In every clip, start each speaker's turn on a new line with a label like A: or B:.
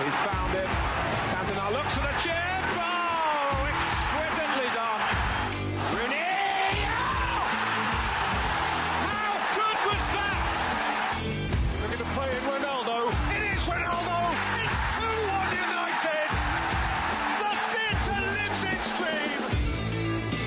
A: it. Cantona looks for the chip. Oh, exquisitely done. Rooney. Oh! How good was that? Looking to play in Ronaldo. It is Ronaldo. It's 2-1 United. The theatre lives its dream.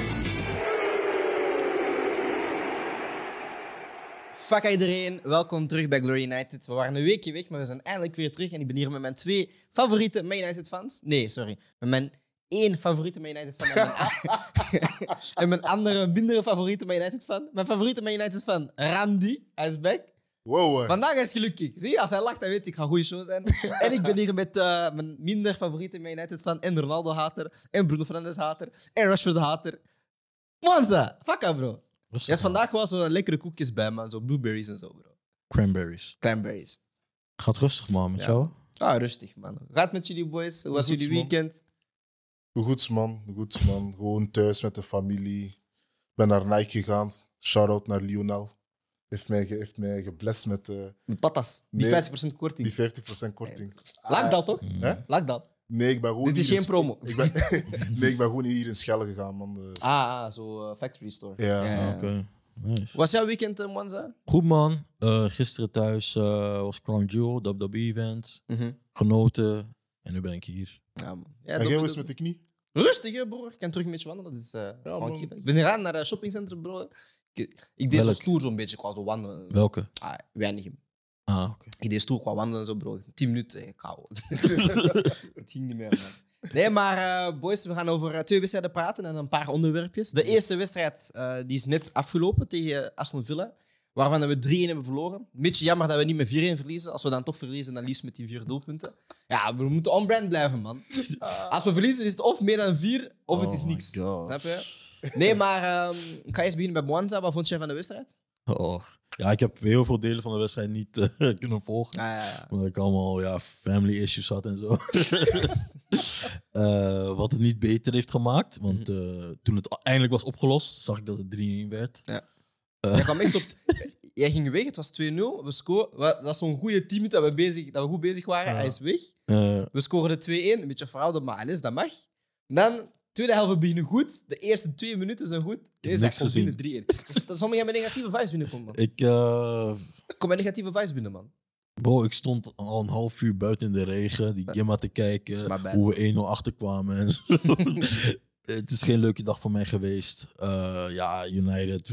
B: Fuck iedereen, welkom terug bij Glory United. We waren een weekje weg, maar we zijn eindelijk weer terug. En ik ben hier met mijn twee favoriete Man United fans. Nee, sorry. Met mijn één favoriete Man United fan. En mijn, en mijn andere, mindere favoriete Man United fan. Mijn favoriete Man United fan, Randy. Hij is back.
C: Wow, hoor.
B: Vandaag is gelukkig. Zie je, als hij lacht, dan weet ik, ik ga goede show zijn. en ik ben hier met eh, mijn minder favoriete Man United fan. En Ronaldo-hater. En Bruno Fernandes-hater. En Rashford-hater. Monza, fuck up, bro. Ja, dus vandaag was er lekkere koekjes bij, man. Zo blueberries en zo, bro.
D: Cranberries.
B: Cranberries.
D: Gaat rustig, man, met
B: Ja.
D: jou.
B: Ah, rustig, man. Gaat met jullie, boys? Hoe was
C: Goed,
B: jullie
C: man.
B: weekend?
C: Goeds man, goeds man. Gewoon thuis met de familie. Ik ben naar Nike gegaan. Shout-out naar Lionel. Heeft mij, ge- heeft mij geblest met eh,
B: De patas. Die
C: Nee.
B: 50% korting.
C: die Ah, 50% korting.
D: Mm.
B: Laat dat, toch?
C: Hè?
B: Laat dat.
C: Nee, ik ben gewoon
B: Dit is
C: hier
B: geen
C: in-
B: promo.
C: dus- Ik ben, nee, ik ben gewoon hier in Schelle gegaan, man. Eh,
B: Ah, ah, zo eh, factory store.
C: Ja,
D: Oké. Nice.
B: Was jouw weekend, eh, Monza?
D: Goed, man. Eh, gisteren thuis eh, was Crown Jewel, WWE-event.
C: Mhm.
D: Genoten. En nu ben ik hier.
B: Ja, man. Ja,
C: en
B: dat-
C: jij
B: dat-
C: was met de knie?
B: Rustig, hè, broer. Ik kan terug een beetje wandelen. Dat is eh, tranquil.
C: man.
B: Ik ben gegaan naar een shoppingcentrum, bro. Ik, ik deed zo
D: Welk?
B: stoer zo'n beetje qua zo wandelen.
D: Welke?
B: Ah, weinig.
D: Ah, oké.
B: Ik deed stoer qua wandelen en zo, bro. 10 minuten, eh, kou. Het ging niet meer, man. Nee, maar eh, boys, we gaan over eh, twee wedstrijden praten en een paar onderwerpjes. De eerste wedstrijd eh, die is net afgelopen tegen eh, Aston Villa, waarvan we 3-1 hebben verloren. Een beetje jammer dat we niet met 4-1 verliezen. Als we dan toch verliezen, dan liefst met die vier doelpunten. Ja, we moeten on-brand blijven, man. Als we verliezen, is het of meer dan vier, of het is
D: Oh my
B: niks.
D: God.
B: Snap je? Nee, maar ehm, ik ga eerst beginnen bij Mwanza. Wat vond jij van de wedstrijd?
D: Oh. Ja, ik heb heel veel delen van de wedstrijd niet eh, kunnen volgen.
B: Ah, ja, ja.
D: Omdat ik allemaal ja, family issues had en zo. Eh, wat het niet beter heeft gemaakt. Want
B: Mhm.
D: eh, toen het eindelijk was opgelost, zag ik dat het 3-1 werd.
B: Jij, kwam echt op, jij ging weg, het was 2-0. We scoren, we- dat was zo'n goede 10 minuten dat we, bezig, dat we goed bezig waren.
D: Ja.
B: Hij is weg.
D: Eh,
B: We scoren de 2-1, een beetje fraude, maar alles, dat mag. Dan, tweede helft, we beginnen goed. De eerste twee minuten zijn goed. Deze
D: niks
B: komt binnen 3-1. Dus dat- Sommigen hebben negatieve vibes binnenkomen, man.
D: ik, eh,
B: Kom met negatieve vibes binnen, man.
D: Bro, ik stond al een half uur buiten in de regen, die Gemma te
B: It's my bad.
D: kijken, hoe we 1-0 achterkwamen en zo. Het is geen leuke dag voor mij geweest. Eh, ja, United,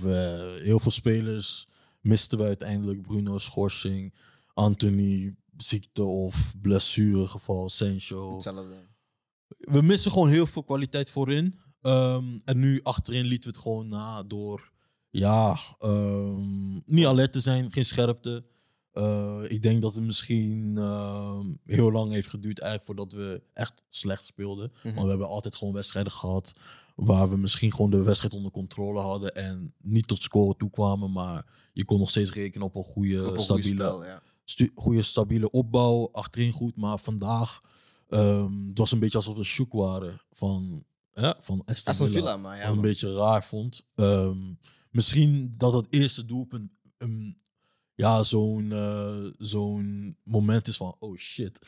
D: we- heel veel spelers misten we uiteindelijk. Bruno, schorsing, Anthony, ziekte of blessuregeval, Sancho.
B: Hetzelfde.
D: We missen gewoon heel veel kwaliteit voorin. Ehm, en nu achterin lieten we het gewoon na door ja, ehm, niet alert te zijn, geen scherpte. Eh, ik denk dat het misschien ehm, heel lang heeft geduurd eigenlijk voordat we echt slecht speelden.
B: Mhm.
D: Want we hebben altijd gewoon wedstrijden gehad waar we misschien gewoon de wedstrijd onder controle hadden en niet tot scoren toekwamen. Maar je kon nog steeds rekenen op een goede,
B: Op een goed
D: stabiele
B: spel, ja.
D: stu- goede stabiele opbouw, achterin goed. Maar vandaag ehm, het was een beetje alsof we shook waren van, ja, van Aston,
B: Aston
D: Villa.
B: Villa, maar
D: Wat
B: ja.
D: ik een
B: man.
D: beetje raar vond. Ehm, misschien dat het eerste doelpunt een- ja, zo'n eh, zo'n moment is van, oh shit.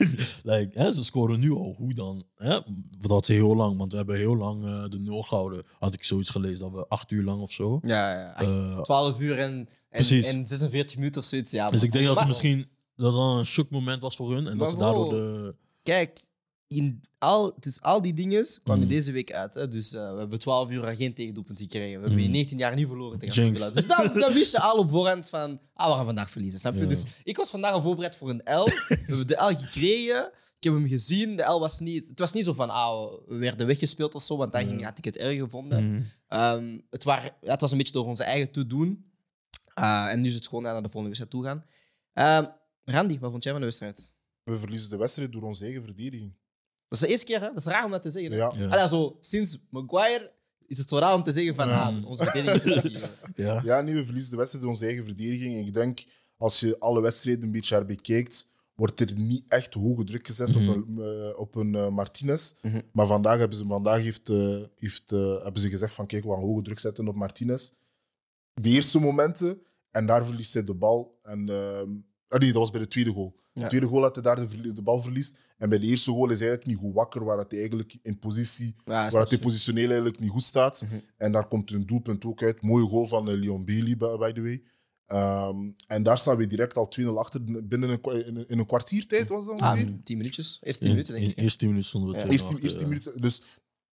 D: like, hè, ze scoren nu al, hoe dan? Hè? Want Dat is heel lang, want we hebben heel lang eh, de nul gehouden. Had ik zoiets gelezen, dat we acht uur lang of zo.
B: Ja, ja. Echt,
D: Eh,
B: 12 uur en, en,
D: precies.
B: en 46 minuten of zoiets, ja.
D: dus
B: man.
D: ik denk dat ze
B: Maar-
D: misschien dat dat een shock moment was voor hun
B: Maar
D: en dat ze daardoor
B: wow.
D: de
B: kijk, in al, dus al die dingen kwamen
D: Mm.
B: deze week uit. Hè? Dus eh, we hebben 12 uur al geen tegendoelpunt gekregen. We hebben in
D: Mm.
B: 19 jaar niet verloren tegen
D: Jinx.
B: Aston Villa. Dus dat, dat wist je al op voorhand van, ah, we gaan vandaag verliezen, snap je?
D: Ja.
B: Dus ik was vandaag al voorbereid voor een L. We hebben de L gekregen. Ik heb hem gezien. De L was niet... Het was niet zo van, ah, we werden weggespeeld of zo, want dan ging, had ik het erg gevonden.
D: Mm.
B: Ehm, het, waren, ja, het was een beetje door onze eigen te doen. Ah, en nu is het gewoon ja, naar de volgende wedstrijd toe gaan. Ehm, Randy, wat vond jij van de wedstrijd?
C: We verliezen de wedstrijd door onze eigen verdediging.
B: Dat is de eerste keer, hè? dat is raar om dat te zeggen. hè?
C: Ja.
D: Ja.
B: Allee, zo, sinds Maguire is het zo raar om te zeggen van
C: Ja.
B: ah, onze verdediging is het hier.
D: Ja.
C: Ja, nee, we verliezen de wedstrijd door onze eigen verdediging. Ik denk, als je alle wedstrijden een beetje herbekeekt, wordt er niet echt hoge druk gezet op een, eh, op een eh, Martinez.
B: Mhm.
C: Maar vandaag, hebben ze, vandaag heeft, eh, heeft, eh, hebben ze gezegd van kijk, we gaan hoge druk zetten op Martinez. De eerste momenten, en daar verliest hij de bal. En ehm, Ah, nee, dat was bij de tweede goal.
B: Ja.
C: De tweede goal had hij daar de, verli- de bal verliest. En bij de eerste goal is hij eigenlijk niet goed wakker, waar dat hij eigenlijk in positie,
B: Ja,
C: waar dat Mhm. hij
B: snap
C: positioneel eigenlijk niet goed staat. En daar komt een doelpunt ook uit. Mooie goal van eh, Leon Bailey, by by the way. Ehm, en daar staan we direct al 2-0 achter. Binnen een, kwa- in, een- in een kwartier tijd was dat
B: Ah,
C: ongeveer.
B: tien minuutjes. Eerst tien
D: In,
B: minuten, denk
D: in
B: ik.
D: eerst 10 minuten stonden we eh,
B: Ja.
D: twee
C: Eerst, eerst die minuten. Dus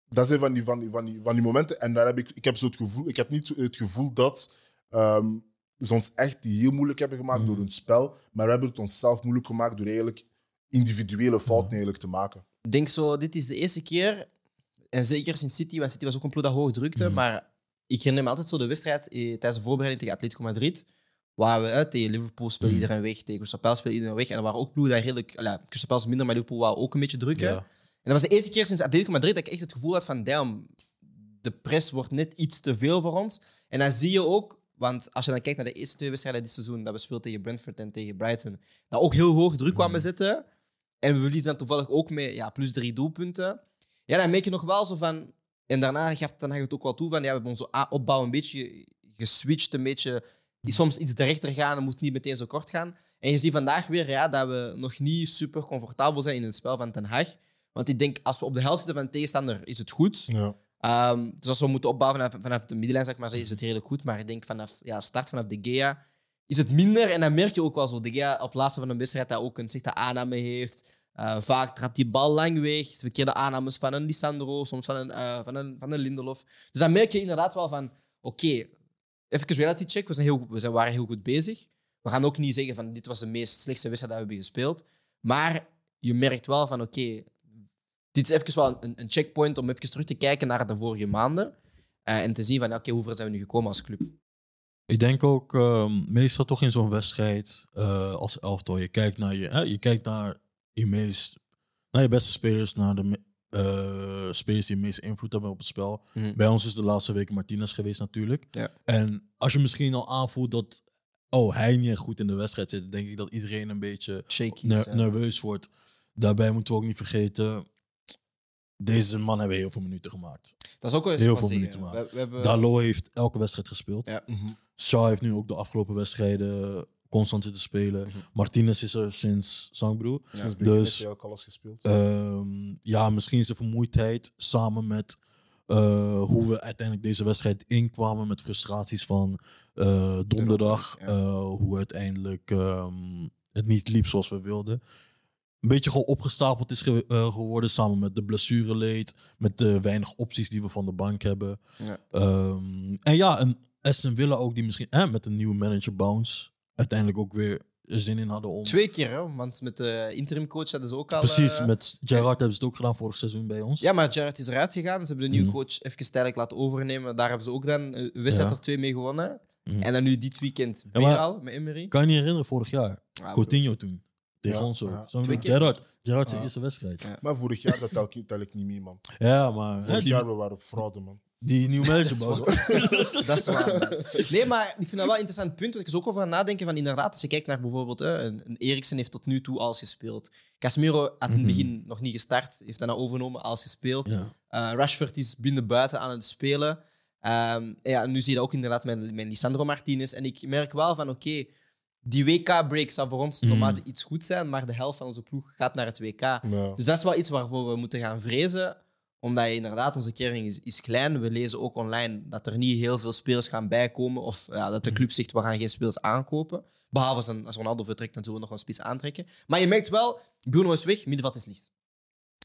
C: dat zijn van die, van die, van die, van die momenten. En daar heb ik, ik heb zo het gevoel, ik heb niet zo het gevoel dat ehm, ze ons echt heel moeilijk hebben gemaakt door hun spel. Maar we hebben het onszelf moeilijk gemaakt door eigenlijk individuele fouten eigenlijk te maken.
B: Ik denk zo, dit is de eerste keer, en zeker sinds City, want City was ook een ploeg dat hoog
D: Mhm.
B: drukte, maar ik herinner me altijd zo de wedstrijd eh, tijdens de voorbereiding tegen Atletico Madrid, waar we uit tegen Liverpool speelde
D: Mhm.
B: iedereen weg, tegen Crystal Palace speelde iedereen weg, en er waren ook ploegen die redelijk, ja, Crystal Palace minder, maar Liverpool wou ook een beetje drukken.
D: Ja.
B: En dat was de eerste keer sinds Atletico Madrid dat ik echt het gevoel had van, damn, de press wordt net iets te veel voor ons. En dan zie je ook, want als je dan kijkt naar de eerste twee wedstrijden dit seizoen, dat we speelden tegen Brentford en tegen Brighton, dat ook heel hoog druk kwamen
D: Mhm.
B: zitten. En we verliezen dan toevallig ook mee, ja, plus drie doelpunten. Ja, dan merk je nog wel zo van... En daarna gaf dan het ook wel toe van, ja, we hebben onze a- opbouw een beetje geswitcht, een beetje... Soms iets rechter gaan, het moet niet meteen zo kort gaan. En je ziet vandaag weer ja, dat we nog niet super comfortabel zijn in het spel van Ten Hag. Want ik denk, als we op de helft zitten van de tegenstander, is het goed.
C: Ja.
B: Ehm, dus als we moeten opbouwen vanaf, vanaf de middenlijn, zeg maar, is het redelijk goed. Maar ik denk vanaf ja, start vanaf de Gea is het minder. En dan merk je ook wel zo. De Gea op het laatste van een wedstrijd dat ook een zichte aanname heeft. Eh, vaak trapt die bal lang weg. Verkeerde aannames van een Lissandro, soms van een, eh, van een, van een Lindelof. Dus dan merk je inderdaad wel van, oké, even reality check. We, zijn heel, we zijn, waren heel goed bezig. We gaan ook niet zeggen van dit was de meest slechtste wedstrijd dat we hebben gespeeld. Maar je merkt wel van oké, dit is even wel een, een checkpoint om even terug te kijken naar de vorige maanden. eh, en te zien van oké, hoe ver zijn we nu gekomen als club.
D: Ik denk ook ehm, meestal toch in zo'n wedstrijd eh, als elftal. Je kijkt naar je, hè, je kijkt naar je meest, naar je beste spelers, naar de me- eh, spelers die het meeste invloed hebben op het spel.
B: Mhm.
D: Bij ons is de laatste weken Martinez geweest natuurlijk.
B: Ja.
D: En als je misschien al aanvoelt dat oh hij niet echt goed in de wedstrijd zit, denk ik dat iedereen een beetje
B: Shaky.
D: ner- nerveus wordt. Daarbij moeten we ook niet vergeten. Deze man hebben heel veel minuten gemaakt.
B: dat is ook wel eens
D: heel
B: wat
D: veel
B: zeggen.
D: minuten maken.
B: We, we hebben,
D: Dalot heeft elke wedstrijd gespeeld.
B: Ja.
D: Shaw heeft nu ook de afgelopen wedstrijden constant zitten spelen. Martinez is er sinds Sangbroe.
C: Sinds begin
D: Dus-
C: heeft hij ook alles gespeeld.
D: Ehm, ja, misschien is de vermoeidheid samen met eh, hoe we uiteindelijk deze wedstrijd inkwamen. Met frustraties van eh, donderdag.
B: Ja.
D: eh, hoe uiteindelijk ehm, het niet liep zoals we wilden. Een beetje gewoon opgestapeld is ge- eh, geworden samen met de blessureleed. Met de weinig opties die we van de bank hebben.
B: Ja.
D: Ehm, en ja, een Aston Villa ook die misschien eh, met een nieuwe manager Bounce. Uiteindelijk ook weer er zin in hadden om...
B: Twee keer, hè, want met de interimcoach hadden ze ook al...
D: Precies,
B: eh,
D: met Gerard hebben ze het ook gedaan vorig seizoen bij ons.
B: Ja, maar Jared is eruit gegaan. Ze hebben de nieuwe
D: Mhm.
B: coach even tijdelijk laten overnemen. Daar hebben ze ook dan eh, een wedstrijd
D: Ja.
B: of twee mee gewonnen.
D: Mhm.
B: En dan nu dit weekend
D: Ja,
B: weer
D: maar-
B: al met Emery.
D: Kan je niet herinneren, vorig jaar.
B: Ah,
D: Coutinho toen. Tegen
C: Ja,
D: ons ook.
C: ja.
D: Zo met
B: Twee keer.
D: Gerard. Gerard zijn
C: Ja.
D: eerste wedstrijd.
B: Ja.
C: Maar vorig jaar, dat tel ik, tel ik niet mee, man.
D: Ja, maar hè,
C: Vorig
D: die,
C: jaar, we waren op fraude, man.
D: die nieuwe manager bouwt.
B: Dat is waar. man. Nee, maar ik vind dat wel een interessant punt. Want ik er ook over aan nadenken. Van inderdaad, als je kijkt naar bijvoorbeeld hè, een, een Eriksen heeft tot nu toe alles gespeeld. Casemiro had in het
D: Mhm.
B: begin nog niet gestart. Heeft daarna overgenomen, alles gespeeld.
D: Ja.
B: Eh, Rashford is binnen-buiten aan het spelen. Ehm, en ja, nu zie je dat ook inderdaad met, met Lisandro Martinez. En ik merk wel van, oké, die WK-break zal voor ons
D: Mm.
B: normaal iets goed zijn, maar de helft van onze ploeg gaat naar het WK.
C: Ja.
B: Dus dat is wel iets waarvoor we moeten gaan vrezen. Omdat je inderdaad, onze kering is, is klein. We lezen ook online dat er niet heel veel spelers gaan bijkomen. Of ja, dat de
D: Mhm.
B: club zegt, we gaan geen spelers aankopen. Behalve als, een, als Ronaldo vertrekt, dan zullen we nog een spits aantrekken. Maar je merkt wel, Bruno is weg, middenveld is licht.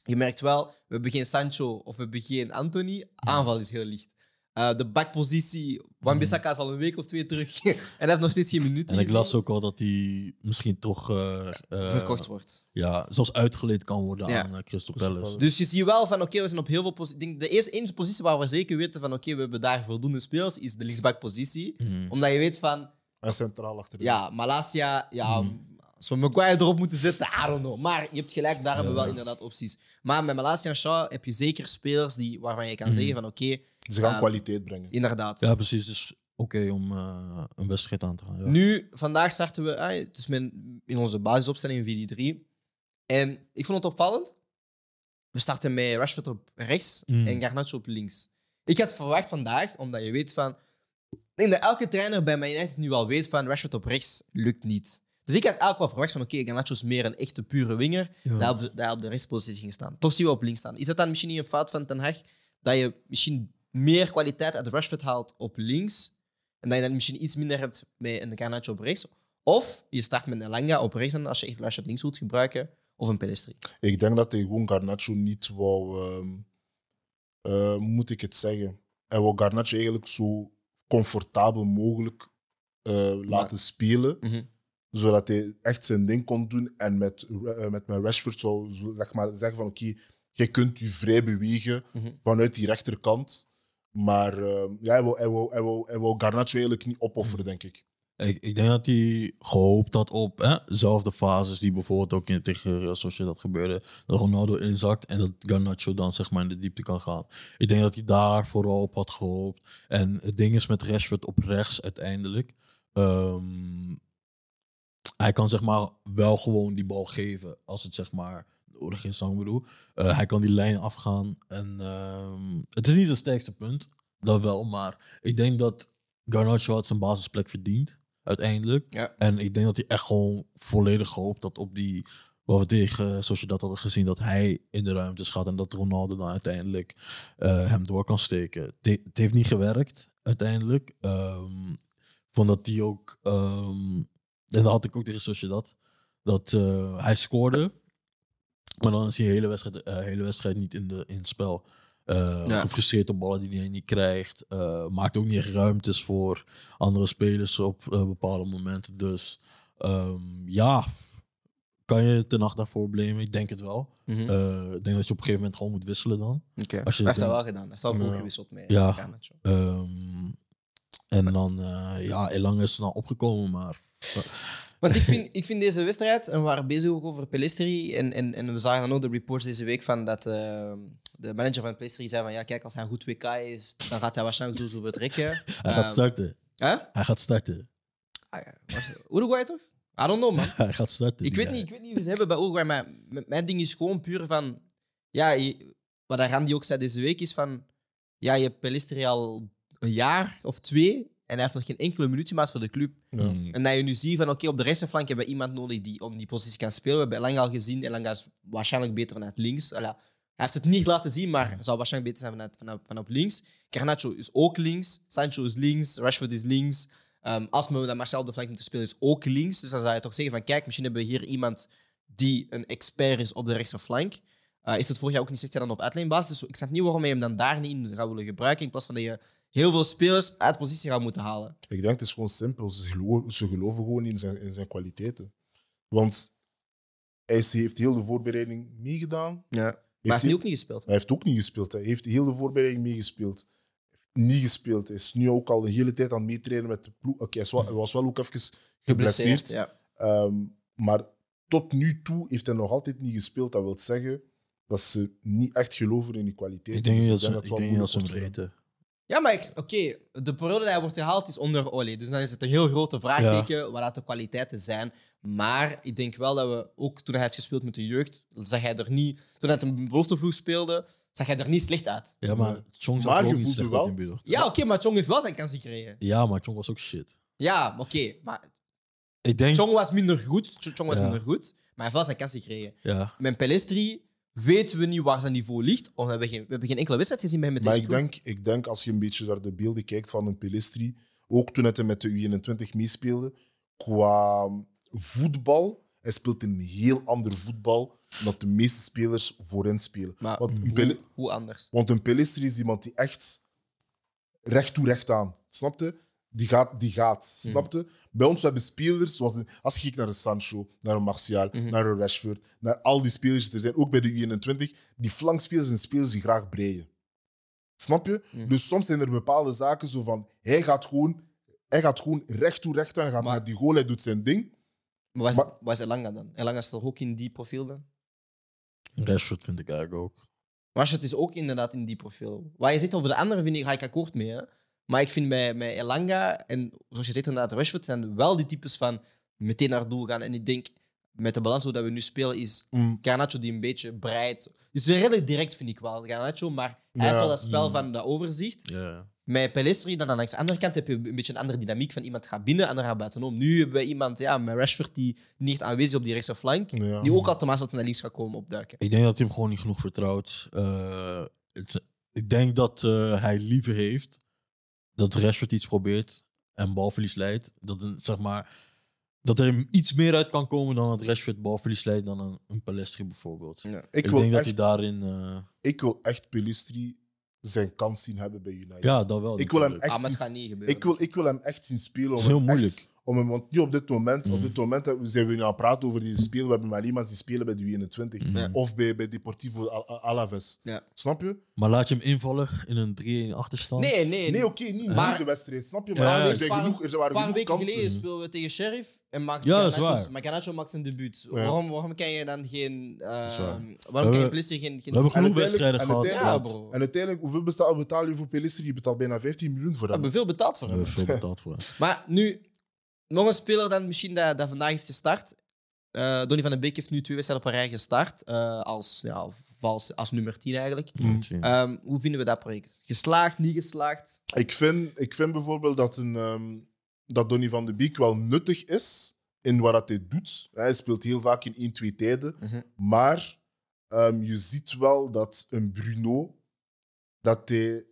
B: Je merkt wel, we hebben geen Sancho of we hebben geen Anthony. Aanval is heel licht. Eh, de backpositie, Wan Bissaka is al een week of twee terug. en hij heeft nog steeds geen minuten
D: Mhm. En ik las
B: gezien.
D: ook al dat hij misschien toch eh, eh,
B: verkocht wordt.
D: Ja, zelfs uitgeleend kan worden
B: Ja.
D: aan eh, Crystal Palace.
B: Dus je ziet wel van, oké, we zijn op heel veel posities. Ik denk, De eerste enige positie waar we zeker weten van, oké, we hebben daar voldoende spelers, is de linksbackpositie.
D: Mhm.
B: Omdat je weet van,
C: En centraal achterin.
B: ja, Malasia, ja,
D: Mhm.
B: als we Maguire erop moeten zetten, I don't know. Maar je hebt gelijk, daar hebben we wel inderdaad opties. Maar met Malasia en Shaw heb je zeker spelers die, waarvan je kan zeggen van, oké,
C: Ze gaan
B: Ah.
C: kwaliteit brengen.
B: inderdaad.
D: Mhm. Ja, precies. Dus oké om eh, een wedstrijd aan te gaan. Ja.
B: Nu, vandaag starten we ah, dus met, in onze basisopstelling in 4-3. En ik vond het opvallend. We starten met Rashford op rechts
D: Mm.
B: en Garnacho op links. Ik had verwacht vandaag, omdat je weet van... Ik denk dat elke trainer bij Man United nu al weet van Rashford op rechts lukt niet. Dus ik had eigenlijk wel verwacht van, oké, Ganacho is meer een echte pure winger,
D: Ja.
B: daar op, daar op de rechtspositie ging staan. Toch zien we op links staan. Is dat dan misschien niet een fout van Ten Hag, dat je misschien meer kwaliteit uit Rashford haalt op links, en dat je dan misschien iets minder hebt met een Garnacho op rechts? Of je start met een Elanga op rechts, en als je echt Rashford links wilt gebruiken, of een Pelestri.
C: Ik denk dat hij gewoon Garnacho niet wou... ehm, eh, moet ik het zeggen? Hij wou Garnacho eigenlijk zo comfortabel mogelijk eh, laten spelen.
B: Mhm.
C: Zodat hij echt zijn ding kon doen. En met, Ra- eh, met mijn Rashford zou zo, zeg maar, zeggen van... Oké, jij kunt je vrij bewegen
B: Mhm.
C: vanuit die rechterkant. Maar ehm, ja, hij wou, hij, wou, hij, wou, hij wou Garnacho eigenlijk niet opofferen,
D: Mhm.
C: denk ik.
D: Ik, ik denk dat hij gehoopt had op hè, zelfde fases die bijvoorbeeld ook in tegen Real Sociedad gebeurde. Dat Ronaldo inzakt en dat Garnacho dan zeg maar in de diepte kan gaan. Ik denk dat hij daar vooral op had gehoopt. En het ding is met Rashford op rechts uiteindelijk. ehm, hij kan zeg maar wel gewoon die bal geven als het zeg maar nodig is, zou ik bedoel. Eh, hij kan die lijn afgaan en ehm, het is niet zijn sterkste punt, dat wel. Maar ik denk dat Garnacho had zijn basisplek verdiend uiteindelijk.
B: Ja.
D: En ik denk dat hij echt gewoon volledig gehoopt dat op die wat we tegen zoals je dat hadden gezien dat hij in de ruimtes gaat en dat Ronaldo dan uiteindelijk eh, hem door kan steken. Het he- het heeft niet gewerkt uiteindelijk. Ehm, ik vond dat hij ook ehm, en dat had ik ook tegen Sociedad. Dat eh, hij scoorde. Maar dan is hij de hele wedstrijd, eh, hele wedstrijd niet in, de, in het spel. Eh,
B: Ja.
D: Gefrustreerd op ballen die hij niet krijgt. eh, maakt ook niet echt ruimtes voor andere spelers op eh, bepaalde momenten. Dus ehm, ja, kan je ten nacht daarvoor blamen? Ik denk het wel.
B: Mhm.
D: Eh, ik denk dat je op een gegeven moment gewoon moet wisselen dan.
B: Oké. Hij
D: als je
B: heeft dat
D: denkt-
B: wel gedaan. Hij heeft wel veel
D: Ja.
B: gewisseld met
D: Ja.
B: Garnacho.
D: Ehm, en dan, eh, ja, Elang is snel opgekomen, maar...
B: Want ik vind, ik vind deze wedstrijd, en we waren bezig ook over Pelistri, en, en, en we zagen dan ook de reports deze week van dat eh, de manager van Pelistri zei van ja, kijk, als hij een goed WK is, dan gaat hij waarschijnlijk sowieso vertrekken.
D: Hij gaat
B: Ehm,
D: starten.
B: Hè?
D: Hij gaat starten.
B: Ah, ja, was- Uruguay toch? I don't know, man.
D: Hij gaat starten.
B: Ik
D: die
B: weet,
D: guy.
B: niet, ik weet niet hoe ze hebben bij Uruguay, maar m- mijn ding is gewoon puur van... Ja, je- wat Randy ook zei deze week is van... Ja, je hebt Pelistri al een jaar of twee en hij heeft nog geen enkele minuut gemaakt voor de club.
C: Ja.
D: Mm.
B: En dat je nu ziet van, oké, op de rechterflank hebben we iemand nodig die om die positie kan spelen. We hebben lang al gezien, en Elanga is waarschijnlijk beter vanuit links. Allee, hij heeft het niet laten zien, maar zou waarschijnlijk beter zijn vanuit, vanaf, vanaf links. Garnacho is ook links, Sancho is links, Rashford is links. Ehm als we dan Marcel op de flank moeten spelen, is ook links. Dus dan zou je toch zeggen van, kijk, misschien hebben we hier iemand die een expert is op de rechterflank. Eh is het vorig jaar ook niet zegt hij dan op uitleenbasis. Dus ik snap niet waarom je hem dan daar niet in gaat willen gebruiken, in plaats van dat je heel veel spelers uit positie gaat moeten halen.
C: Ik denk het is gewoon simpel. Ze geloven, ze geloven gewoon in zijn, in zijn kwaliteiten. Want hij is- heeft heel de voorbereiding meegedaan. Heeft
B: Ja. Maar hij heeft
C: hij,
B: nu ook niet gespeeld.
C: hij heeft ook niet gespeeld. hè. Hij heeft heel de voorbereiding meegespeeld. Heeft Niet gespeeld. Hij is nu ook al de hele tijd aan het meetrainen met de ploeg. Oké, hij is wel- hij was wel ook even geblesseerd.
B: Ja.
C: Ehm, maar tot nu toe heeft hij nog altijd niet gespeeld. Dat wil zeggen dat ze niet echt geloven in die kwaliteit.
D: Ik denk niet dat
C: Dus
D: ze,
C: het
D: ik
C: wel
D: denk niet dat ze hem
C: moeilijk wordt
D: weten.
B: ja, maar ik- oké, de periode dat hij wordt gehaald is onder Ole. Dus dan is het een heel grote vraagteken wat dat de kwaliteiten zijn. Maar ik denk wel dat we, ook toen hij heeft gespeeld met de jeugd, zag hij er niet... Toen hij met een beloftevloeg speelde, zag hij er niet slecht uit.
D: Ja, maar Chong zag
C: Maar
D: er ook
C: je
D: niet
C: voelt
D: slecht
C: je wel.
D: uit in Budapest.
B: Ja, oké, maar Chong heeft wel zijn kansen gekregen.
D: Ja, maar Chong was ook shit.
B: Ja, maar oké. maar
D: Ik denk...
B: Chong was minder goed. Ch- Chong was
D: Ja.
B: minder goed, maar hij heeft wel zijn kansen gekregen.
D: Ja.
B: Met Pelestri weten we niet waar zijn niveau ligt. Omdat we, geen, we hebben geen enkele wedstrijd gezien bij hem met
C: Maar
B: deze
C: ik
B: ploeg.
C: denk, ik denk als je een beetje naar de beelden kijkt van een Pelistri, ook toen hij met de U21 meespeelde, qua voetbal, hij speelt een heel ander voetbal dan de meeste spelers voorin spelen.
B: Maar
C: Want een,
B: hoe,
C: Peli-
B: hoe anders?
C: want een Pelistri is iemand die echt recht toe recht aan, snapte? Die gaat, die gaat, snapte? Bij ons hebben spelers, zoals een- als je kijkt naar een Sancho, naar een Martial, naar een Rashford, naar al die spelers die er zijn, ook bij de U21, die flankspelers zijn spelers die graag breien. Snap je? Dus soms zijn er bepaalde zaken zo van. Hij gaat gewoon, hij gaat gewoon recht toe recht aan. Hij gaat
B: Maar-
C: naar die goal, hij doet zijn ding.
B: Maar waar is,
C: Maar-
B: waar is Elanga dan? Elanga is toch ook in die profiel dan?
D: Rashford vind ik eigenlijk ook.
B: Rashford is ook inderdaad in die profiel. Waar je zegt over de anderen vind ik, ga ik akkoord mee. Hè? Maar ik vind bij, bij Elanga en zoals je zegt inderdaad Rashford zijn wel die types van meteen naar doel gaan. En ik denk met de balans hoe dat we nu spelen is
C: Mm.
B: Garnacho die een beetje breidt. Is redelijk direct vind ik wel Garnacho, maar hij
C: Ja, Mm.
B: heeft wel dat spel van dat overzicht.
D: Ja.
B: Met Pelistri, dan aan de andere kant heb je een beetje een andere dynamiek van iemand gaat binnen en dan gaat buitenom. Nu hebben we iemand, ja, met Rashford, die niet aanwezig is op die rechtse flank,
C: Ja.
B: die ook al te maas naar links gaat komen opduiken.
D: Ik denk dat hij hem gewoon niet genoeg vertrouwt. Eh, het- ik denk dat eh, hij liever heeft dat Rashford iets probeert en balverlies leidt. Dat, een, zeg maar, dat er hem iets meer uit kan komen dan dat Rashford balverlies leidt dan een, een Palestri bijvoorbeeld.
B: Ja.
C: Ik,
D: Ik,
C: wil
D: denk dat hij
C: echt,
D: daarin... eh,
C: ik wil echt Pelistri zijn kans zien hebben bij United.
D: ja, dat wel.
C: ik wil hem
D: natuurlijk.
C: echt
B: Ah, maar het
C: zien-
B: gaat niet gebeuren.
C: Ik wil, ik wil hem echt zien spelen. om
D: dus- is heel
C: hem echt-
D: moeilijk.
C: om hem, want nu op dit moment, op
D: Mm.
C: dit moment hebben- zijn we nu aan het praten over die spelen. We hebben maar iemand die spelen bij de 21.
D: Mhm.
B: Ja.
C: Of bij, bij Deportivo Al- Al- Alaves.
B: Ja.
C: Snap je?
D: Maar laat je hem invallen in een 3-1 achterstand?
B: Nee, nee.
C: Nee, oké, niet in
B: Maar-
C: deze wedstrijd. Snap je?
D: Ja,
C: Maar
D: ja,
C: er, zijn
B: paar-
C: genoeg, er
B: Een
C: waren
B: paar
C: genoeg
B: weken
C: kansen.
B: geleden speelden we tegen Sheriff en maakt
D: Ja, dat is
B: Garnacho-
D: waar.
B: maar Garnacho maakt zijn debuut. Waarom, waarom kan je dan geen... eh,
D: is waar.
B: waarom
D: We
B: kan je
D: hebben-
B: Pelistri geen... geen
D: We hebben
C: En
D: genoeg
C: uiteindelijk-
D: wedstrijden
C: en
D: gehad.
B: ja,
C: uiteindelijk-
D: laat-
B: bro.
C: En uiteindelijk, hoeveel betaal, betaal je voor Pelistri? Je betaalt bijna 15 miljoen voor
B: We hebben
C: hem.
B: veel betaald voor
D: We hebben
B: hem.
D: veel betaald voor hem.
B: Maar nu, nog een speler dan misschien dat, dat vandaag heeft gestart. Eh Donny van den Beek heeft nu twee wedstrijden op een rij gestart. eh, als, ja, vals, als nummer 10 eigenlijk.
C: Mm.
B: Ehm, hoe vinden we dat project? Geslaagd, niet geslaagd?
C: Ik vind, ik vind bijvoorbeeld dat, een, ehm, dat Donny van de Beek wel nuttig is in wat dat hij doet. Hij speelt heel vaak in 1, 2 tijden.
B: Mhm.
C: Maar ehm, je ziet wel dat een Bruno, dat hij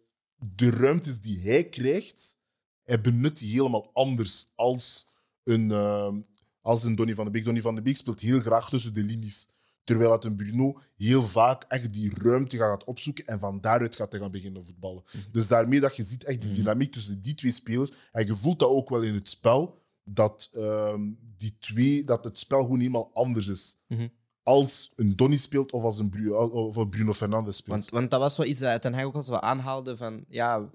C: de ruimtes die hij krijgt, hij benut die helemaal anders als een, ehm, als een Donny van de Beek. Donny van de Beek speelt heel graag tussen de linies. Terwijl dat een Bruno heel vaak echt die ruimte gaat opzoeken en van daaruit gaat hij gaan beginnen voetballen.
B: Mhm.
C: Dus daarmee dat je ziet echt die
D: Mhm.
C: dynamiek tussen die twee spelers. En je voelt dat ook wel in het spel, dat, ehm, die twee, dat het spel gewoon helemaal anders is.
B: Mhm.
C: Als een Donny speelt of als een Bruno, of als Bruno Fernandes speelt.
B: Want, want dat was wel iets dat Ten Hag ook altijd wel aanhaalde van... Ja,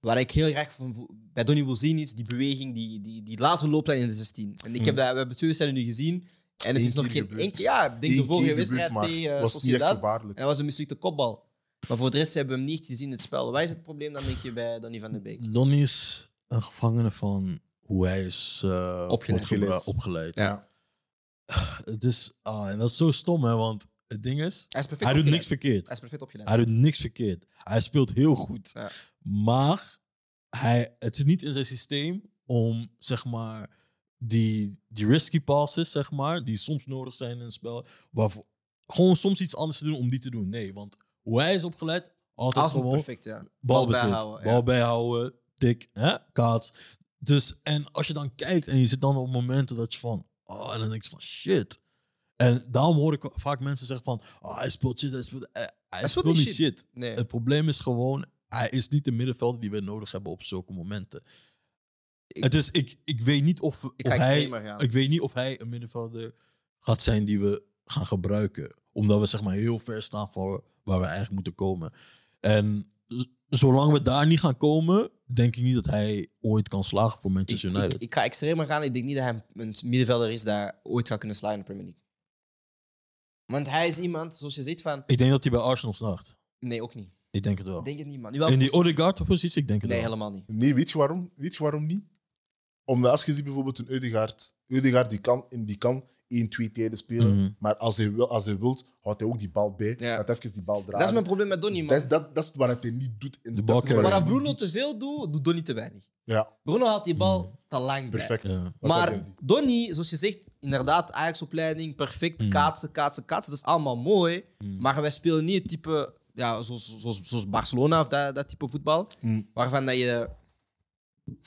B: wat ik heel graag van, vo- bij Donny wil zien is die beweging, die, die, die late looplijn in de 16. En ik heb dat, we hebben twee wedstrijden nu gezien. En het
C: Hm. Eén
B: is nog
C: keer
B: geen
C: gebeurd.
B: enkel... Ja, ik denk de
C: Eén
B: vorige
C: keer gebeurt,
B: wedstrijd
C: maar
B: tegen eh,
C: was niet echt
B: Sociedad.
C: gevaarlijk.
B: En dat was een mislukte kopbal. Maar voor de rest hebben we hem niet gezien in het spel. Wat is het probleem dan, denk je, bij Donny van den Beek?
D: Donny is een gevangene van hoe hij is eh, wordt gebra- opgeleid.
B: Ja.
D: Het is, ah, en dat is zo stom, hè, want het ding is,
B: Hij is perfect
D: hij doet
B: opgeleid.
D: niks verkeerd.
B: Hij is perfect opgeleid.
D: Hij doet niks verkeerd. Hij speelt heel goed.
B: Ja.
D: Maar hij, het is niet in zijn systeem om, zeg maar, die, die risky passes, zeg maar, die soms nodig zijn in een spel, waarvoor, gewoon soms iets anders te doen om die te doen. Nee, want hoe hij is opgeleid, altijd
B: Als
D: gewoon
B: perfect, ja.
D: bal
B: bijhouden,
D: bijhouden.
B: ja.
D: Bal bijhouden, tik, hè, kaats. Dus, en als je dan kijkt en je zit dan op momenten dat je van, oh, en dan denk je van shit. En daarom hoor ik vaak mensen zeggen van, oh, hij speelt shit, hij speelt, hij, hij speelt, niet shit.
B: Nee.
D: Het probleem is gewoon, hij is niet de middenvelder die we nodig hebben op zulke momenten.
B: Ik-
D: het is, ik, ik weet niet of,
B: Ik
D: of
B: ga
D: hij
B: extremer gaan.
D: ik weet niet of hij een middenvelder gaat zijn die we gaan gebruiken. Omdat we zeg maar heel ver staan voor waar we eigenlijk moeten komen. En z- zolang we daar niet gaan komen, denk ik niet dat hij ooit kan slagen voor
B: Ik,
D: Manchester
B: ik,
D: United.
B: ik ga extremer gaan. Ik denk niet dat hij een middenvelder is dat ooit gaat kunnen slaan in de Premier League. Want hij is iemand, zoals je ziet, van...
D: ik denk dat hij bij Arsenal slaagt.
B: Nee, ook niet.
D: Ik denk het wel.
B: Ik denk het niet, man. Nu wel-
D: In die Odegaard-positie, ik denk het
B: Nee,
D: wel.
B: helemaal niet.
C: Nee, weet je waarom? Weet je waarom niet? Omdat als je ziet bijvoorbeeld een Eudegaard. Eudegaard die kan, en die kan 1, 2 tijden spelen.
D: Mhm.
C: Maar als hij, wil, als hij wilt, houdt hij ook die bal bij.
B: Ja.
C: Gaat even die bal draaien.
B: Dat is mijn probleem met Donny, man.
C: Dat, dat, dat is wat hij niet doet. In
D: De bal
C: dat is wat
B: Maar
D: krijgen.
C: hij
B: als
C: niet
B: Bruno
C: doet.
B: te veel doet, doet Donny te weinig.
C: Ja,
B: Bruno haalt die bal te lang bij.
C: perfect.
D: Ja.
C: Wat dat
B: Maar
C: hij doet.
B: Donny, zoals je zegt, inderdaad, Ajax-opleiding, perfect,
D: Mm.
B: kaatsen, kaatsen, kaatsen. Dat is allemaal mooi.
D: Mm.
B: Maar wij spelen niet het type, ja, zoals, zoals, zoals Barcelona of dat, dat type voetbal.
C: Mm.
B: Waarvan dat je...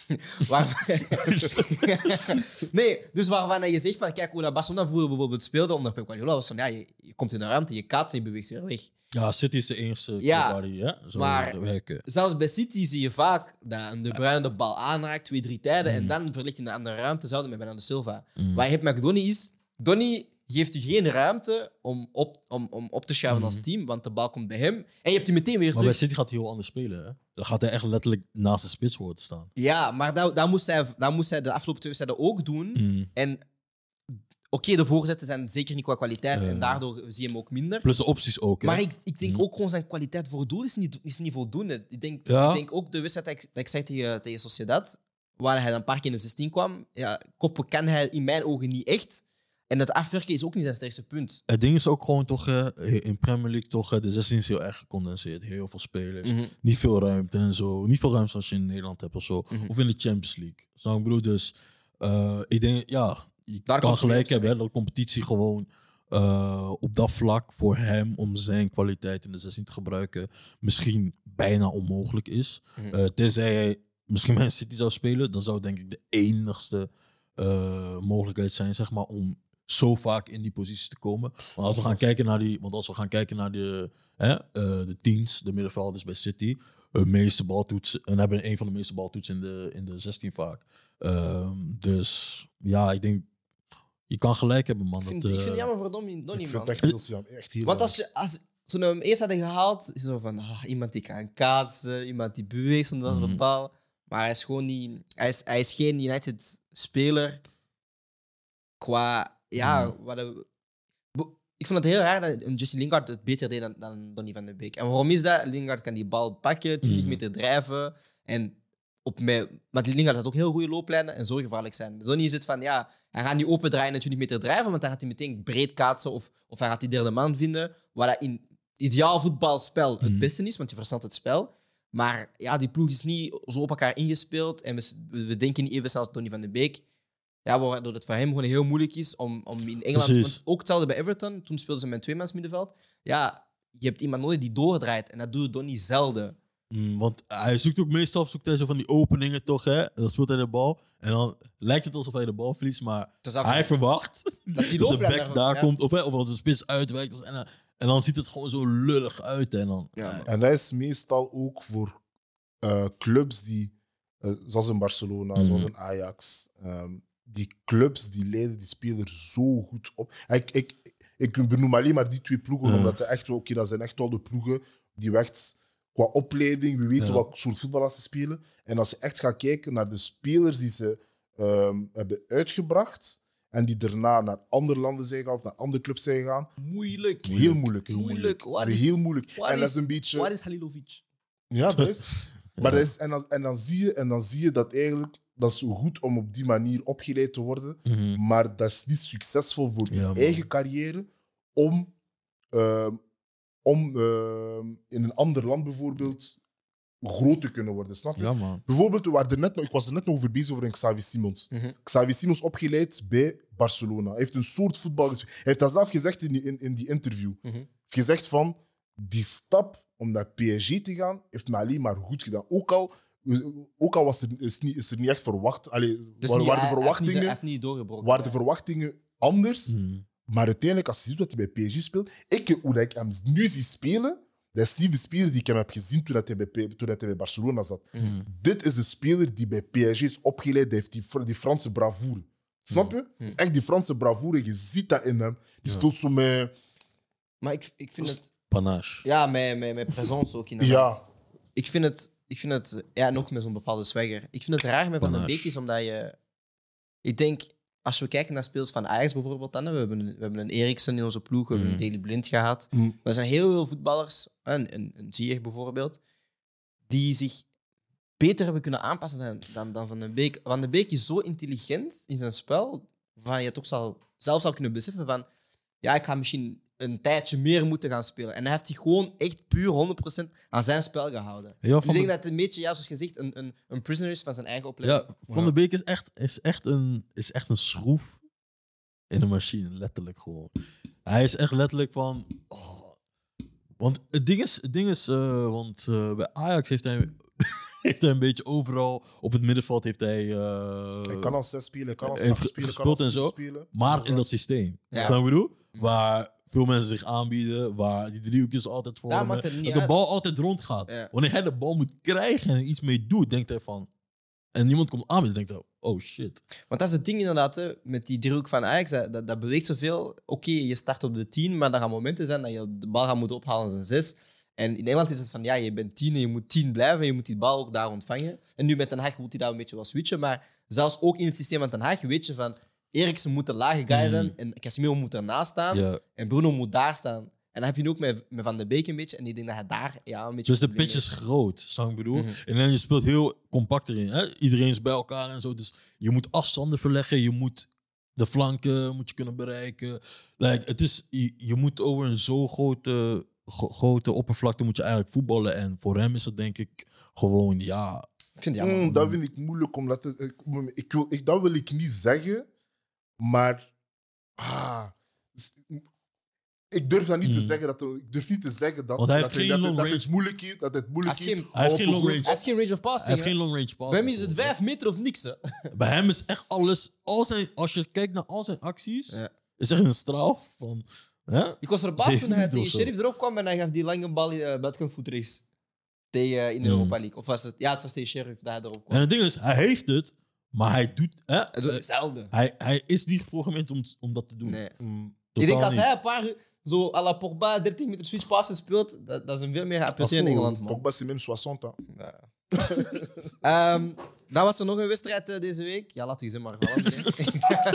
B: waarvan... nee, dus waarvan dat je zegt van, kijk hoe dat Barcelona vroeger bijvoorbeeld speelde onder Pep Guardiola. was van, ja, je, je komt in de ruimte, je kaatst en je beweegt weer weg.
D: Ja, City is de enige club
B: Ja,
D: waar hij hè, zou
B: maar-
D: werken.
B: Zelfs bij City zie je vaak dat een De Bruyne de bal aanraakt, twee, drie tijden, en
D: Mm.
B: dan verlicht je een andere ruimte, zouden met Bernardo Silva.
D: Mm.
B: Wat je hebt met Donny is, Donny geeft u geen ruimte om op, om, om op te schuiven als team, want de bal komt bij hem, en je hebt die meteen weer
D: Maar
B: terug.
D: bij City gaat hij heel anders spelen. Hè? Dan gaat hij echt letterlijk naast de spits horen te staan.
B: Ja, maar dat, dat, moest hij, dat moest hij de afgelopen twee wedstrijden ook doen.
D: Mhm.
B: En oké, de voorzetten zijn zeker niet qua kwaliteit en
D: Eh.
B: daardoor zie je hem ook minder.
D: Plus de opties ook. Hè?
B: Maar ik, ik denk
D: Hm.
B: ook gewoon zijn kwaliteit voor het doel is niet, is niet voldoende. Ik denk,
D: Ja.
B: ik denk ook de wedstrijd dat ik, dat ik zei tegen, tegen Sociedad, waar hij dan een paar keer in de 16 kwam, ja, koppen kan hij in mijn ogen niet echt. En dat afwerken is ook niet zijn sterkste punt.
D: Het ding is ook gewoon toch, eh, in Premier League toch, eh, de 16 is heel erg gecondenseerd. Heel veel spelers.
B: Mm.
D: Niet veel ruimte en zo. Niet veel ruimte als je in Nederland hebt of zo.
B: Mhm.
D: Of in de Champions League. Snap je, ik bedoel? Dus eh, ik denk, ja, je
B: Daar komt
D: kan
B: het
D: gelijk
B: neer,
D: hebben hè, dat de competitie gewoon eh, op dat vlak voor hem om zijn kwaliteit in de 16 te gebruiken misschien bijna onmogelijk is.
B: Mhm.
D: Eh, tenzij hij misschien Man City zou spelen, dan zou het denk ik de enigste eh, mogelijkheid zijn zeg maar, om zo vaak in die positie te komen. Want als we gaan kijken naar die, want als we gaan kijken naar de, hè, eh, de teams, de middenvelders bij City, de meeste baltoetsen en hebben een van de meeste baltoetsen in de, in de 16 vaak. Ehm, dus ja, ik denk je kan gelijk hebben man.
B: Ik vind,
D: dat,
B: ik vind het
D: eh,
B: jammer voor Donny, Donny
C: ik
B: man.
C: vind het echt heel siam. Echt heel
B: Want als,
C: jammer.
B: je, als toen we hem eerst hadden gehaald, is het zo van ah, iemand die kan kaatsen, iemand die beweegt zonder dat
D: Mhm.
B: een paal. Maar hij is gewoon niet, hij is, hij is geen United-speler qua, ja,
D: Mhm.
B: wat een- Bo- ik vond het heel raar dat een Justin Lingard het beter deed dan, dan Donny van de Beek. En waarom is dat? Lingard kan die bal pakken, 20
D: Mhm.
B: meter drijven en op mij, maar Lingard had ook heel goede looplijnen en zo gevaarlijk zijn. Donny is het van, ja, hij gaat niet opendraaien en 20 meter drijven, want dan gaat hij meteen breed kaatsen of, of hij gaat die derde man vinden, waar dat in ideaal voetbalspel het
D: Mhm.
B: beste is, want je verstaat het spel. Maar ja, die ploeg is niet zo op elkaar ingespeeld en we, s- we denken niet even snel als Donny van de Beek. Ja, waardoor het voor hem gewoon heel moeilijk is om, om in Engeland...
D: Precies.
B: want ook hetzelfde bij Everton, toen speelden ze met tweemans middenveld. Ja, je hebt iemand nodig die doordraait en dat doet Donny zelden.
D: Mm, want hij zoekt ook meestal zoekt hij zo van die openingen toch, hè? Dan speelt hij de bal en dan lijkt het alsof hij de bal verliest, maar
B: Terwijl-
D: hij verwacht dat,
B: die
D: de
B: looplijn
D: back daar,
B: daar- ja.
D: komt of, hè, of als de spits uitwijkt. En, dan- en dan ziet het gewoon zo lullig uit. hè, En dan,
B: Ja, man.
C: En dat is meestal ook voor eh, clubs die, eh, zoals in Barcelona,
D: Mhm.
C: zoals in Ajax, ehm, die clubs die leiden die speler zo goed op. En Ik, ik, ik benoem alleen maar die twee ploegen,
B: Mhm.
D: Ja.
C: omdat ze echt, wel- oké, dat zijn echt wel de ploegen die echt qua opleiding, we weten
D: Ja.
C: welk soort voetbal ze spelen. En als je echt gaat kijken naar de spelers die ze ehm, hebben uitgebracht en die daarna naar andere landen zijn gegaan of naar andere clubs zijn gegaan,
B: Moeilijk.
C: heel moeilijk. Heel
B: Moeilijk.
C: moeilijk.
B: Wat
C: Ze
B: is-
C: heel moeilijk.
B: wat
C: En dat
B: is-
C: is een beetje...
B: Waar is Halilovic?
C: Ja, dat is. Maar dus- dat is, en, dan, en, dan zie je, en dan zie je dat eigenlijk dat is zo goed om op die manier opgeleid te worden,
D: Mhm.
C: maar dat is niet succesvol voor je
D: Ja, man.
C: eigen carrière om, ehm, om ehm, in een ander land bijvoorbeeld groot te kunnen worden. Snap je?
D: Ja, man.
C: Bijvoorbeeld, we waren er net, nog- ik was er net nog over bezig over een Xavi Simons.
B: Mhm.
C: Xavi Simons opgeleid bij Barcelona. Hij heeft een soort voetbal gespeeld. Hij heeft dat zelf gezegd in die, in, in die interview.
B: Mhm.
C: Hij heeft gezegd van, die stap om naar PSG te gaan, heeft me alleen maar goed gedaan. Ook al, ook al was er, is, niet, is er niet echt verwacht... Allee,
B: Dus
C: waren-
B: niet-
C: waren de
B: hij- hij heeft niet- Hij
C: verwachtingen,
B: heeft niet doorgebroken.
C: waren de verwachtingen anders.
D: Mhm.
C: Maar uiteindelijk, als je ziet wat hij bij PSG speelt, ik, hoe dat ik hem nu zie spelen, dat is niet de speler die ik hem heb gezien toen, dat hij, bij, P- toen dat hij bij Barcelona zat.
B: Mhm.
C: Dit is een speler die bij PSG is opgeleid, die heeft die, Fr- die Franse bravoure. Snap je?
B: Mhm.
C: Echt die Franse bravoure, je ziet dat in hem. Die
D: Ja.
C: speelt zo met...
B: Maar ik, ik vind het...
D: Panache.
B: Ja, mijn, mijn, mijn presence ook inderdaad.
C: Ja,
B: Ik vind het... Ik vind het ja, en ook met zo'n bepaalde swagger. Ik vind het raar met Van den
D: Panache.
B: Beek is omdat je... Ik denk, als we kijken naar speels van Ajax bijvoorbeeld, dan, hè, we, hebben een, we hebben een Eriksen in onze ploeg, we hebben
D: Mhm.
B: een Daily Blind gehad.
C: Mhm.
B: Maar er zijn heel veel voetballers, een, een, een Zier bijvoorbeeld, die zich beter hebben kunnen aanpassen dan, dan, dan Van den Beek. Van den Beek is zo intelligent in zijn spel, waarvan je toch zal, zelf zou kunnen beseffen van ja, ik ga misschien een tijdje meer moeten gaan spelen. En hij heeft zich gewoon echt puur 100% aan zijn spel gehouden.
D: Ja,
B: ik
D: van,
B: denk
D: de,
B: dat het een beetje, ja, zoals gezegd, een, een, een prisoner is van zijn eigen opleiding.
D: ja, van de Beek is echt, is, echt een, is echt een schroef in een machine, letterlijk gewoon. Hij is echt letterlijk van. oh. Want het ding is, het ding is eh, want eh, bij Ajax heeft hij, heeft hij een beetje overal op het middenveld heeft hij. eh,
C: hij kan al zes spelen, hij kan al
D: hij heeft
C: acht spelen, hij kan
D: gespeeld en
C: al tien
D: zo.
C: spelen.
D: Maar in dat systeem.
B: Ja. Mm.
D: Snap je wat ik bedoel? Waar veel mensen zich aanbieden, waar die driehoekjes altijd
B: Daar
D: vormen.
B: maakt het niet
D: Dat de
B: uit.
D: bal altijd rondgaat.
B: Ja.
D: Wanneer hij de bal moet krijgen en er iets mee doet, denkt hij van... En niemand komt aanbieden, denkt hij, oh shit.
B: Want dat is het ding inderdaad, hè, met die driehoek van Ajax, dat, dat, dat beweegt zoveel. Oké, je start op de 10, maar er gaan momenten zijn dat je de bal gaat moeten ophalen als een 6. En in Nederland is het van, ja, je bent 10 en je moet 10 blijven en je moet die bal ook daar ontvangen. En nu met Den Haag moet hij daar een beetje wat switchen, maar zelfs ook in het systeem van Den Haag weet je van, Eriksen moet de lage guy zijn
D: Mhm.
B: en Casemiro moet ernaast staan
D: Ja.
B: en Bruno moet daar staan. En dan heb je nu ook met, met Van de Beek een beetje en ik denk dat hij daar ja, een beetje...
D: Dus de
B: problemen
D: pitch is groot, zou ik bedoel.
B: Mhm.
D: En dan je speelt heel compact erin. Hè? Iedereen is bij elkaar en zo. Dus je moet afstanden verleggen. Je moet De flanken moet je kunnen bereiken. Like, het is, je, je moet over een zo grote, gro- grote oppervlakte moet je eigenlijk voetballen. En voor hem is het denk ik gewoon, ja...
B: Ik vind het jammer.
C: Mm, dat vind ik moeilijk om dat te ik- Ik wil, ik, dat wil ik niet zeggen, maar. Ah, s- ik durf dat niet te
D: Mm.
C: zeggen. Dat, ik durf niet te zeggen dat,
D: Want hij
C: dat,
D: heeft
C: dat,
D: geen
C: dat,
D: long
C: het
D: range.
C: moeilijk is. Dat het moeilijk
B: Hij heeft
C: is.
B: geen-
D: Hij heeft
C: op
D: geen
C: een
D: long
C: goed-
D: range.
B: Hij heeft geen range of
D: Hij
B: passing.
D: heeft
B: hè?
D: geen long range pass.
B: Bij hem is het 5 meter of niks. Hè?
D: Bij hem is echt alles. Al zijn, als je kijkt naar al zijn acties,
B: Ja.
D: is echt een straal van. Hè?
B: Ik was verbaasd
D: Zeven
B: toen hij
D: meter
B: tegen
D: of zo.
B: Sheriff erop kwam en hij gaf die lange bal uh, buitenkant rechts. Tegen eh, in de
D: Mm.
B: Europa League. Of was het? Ja, het was tegen Sheriff dat hij erop kwam.
D: En het ding is, hij heeft het, maar hij doet. Hè?
B: Het was
D: Eh,
B: hetzelfde.
D: hij, hij is niet geprogrammeerd om, om dat te doen.
B: Nee.
C: Mm.
B: Ik denk
D: Totaal
B: als
D: niet.
B: hij een paar zo à la Pogba 30 meter switch passes speelt, dat, dat is hem veel meer geapprecieerd in
C: Ah, voor-
B: Engeland, man.
C: Pogba is même 60 ans.
B: Ja. Ehm, dan was er nog een wedstrijd eh, deze week. Ja, laat die ze maar vallen. hè.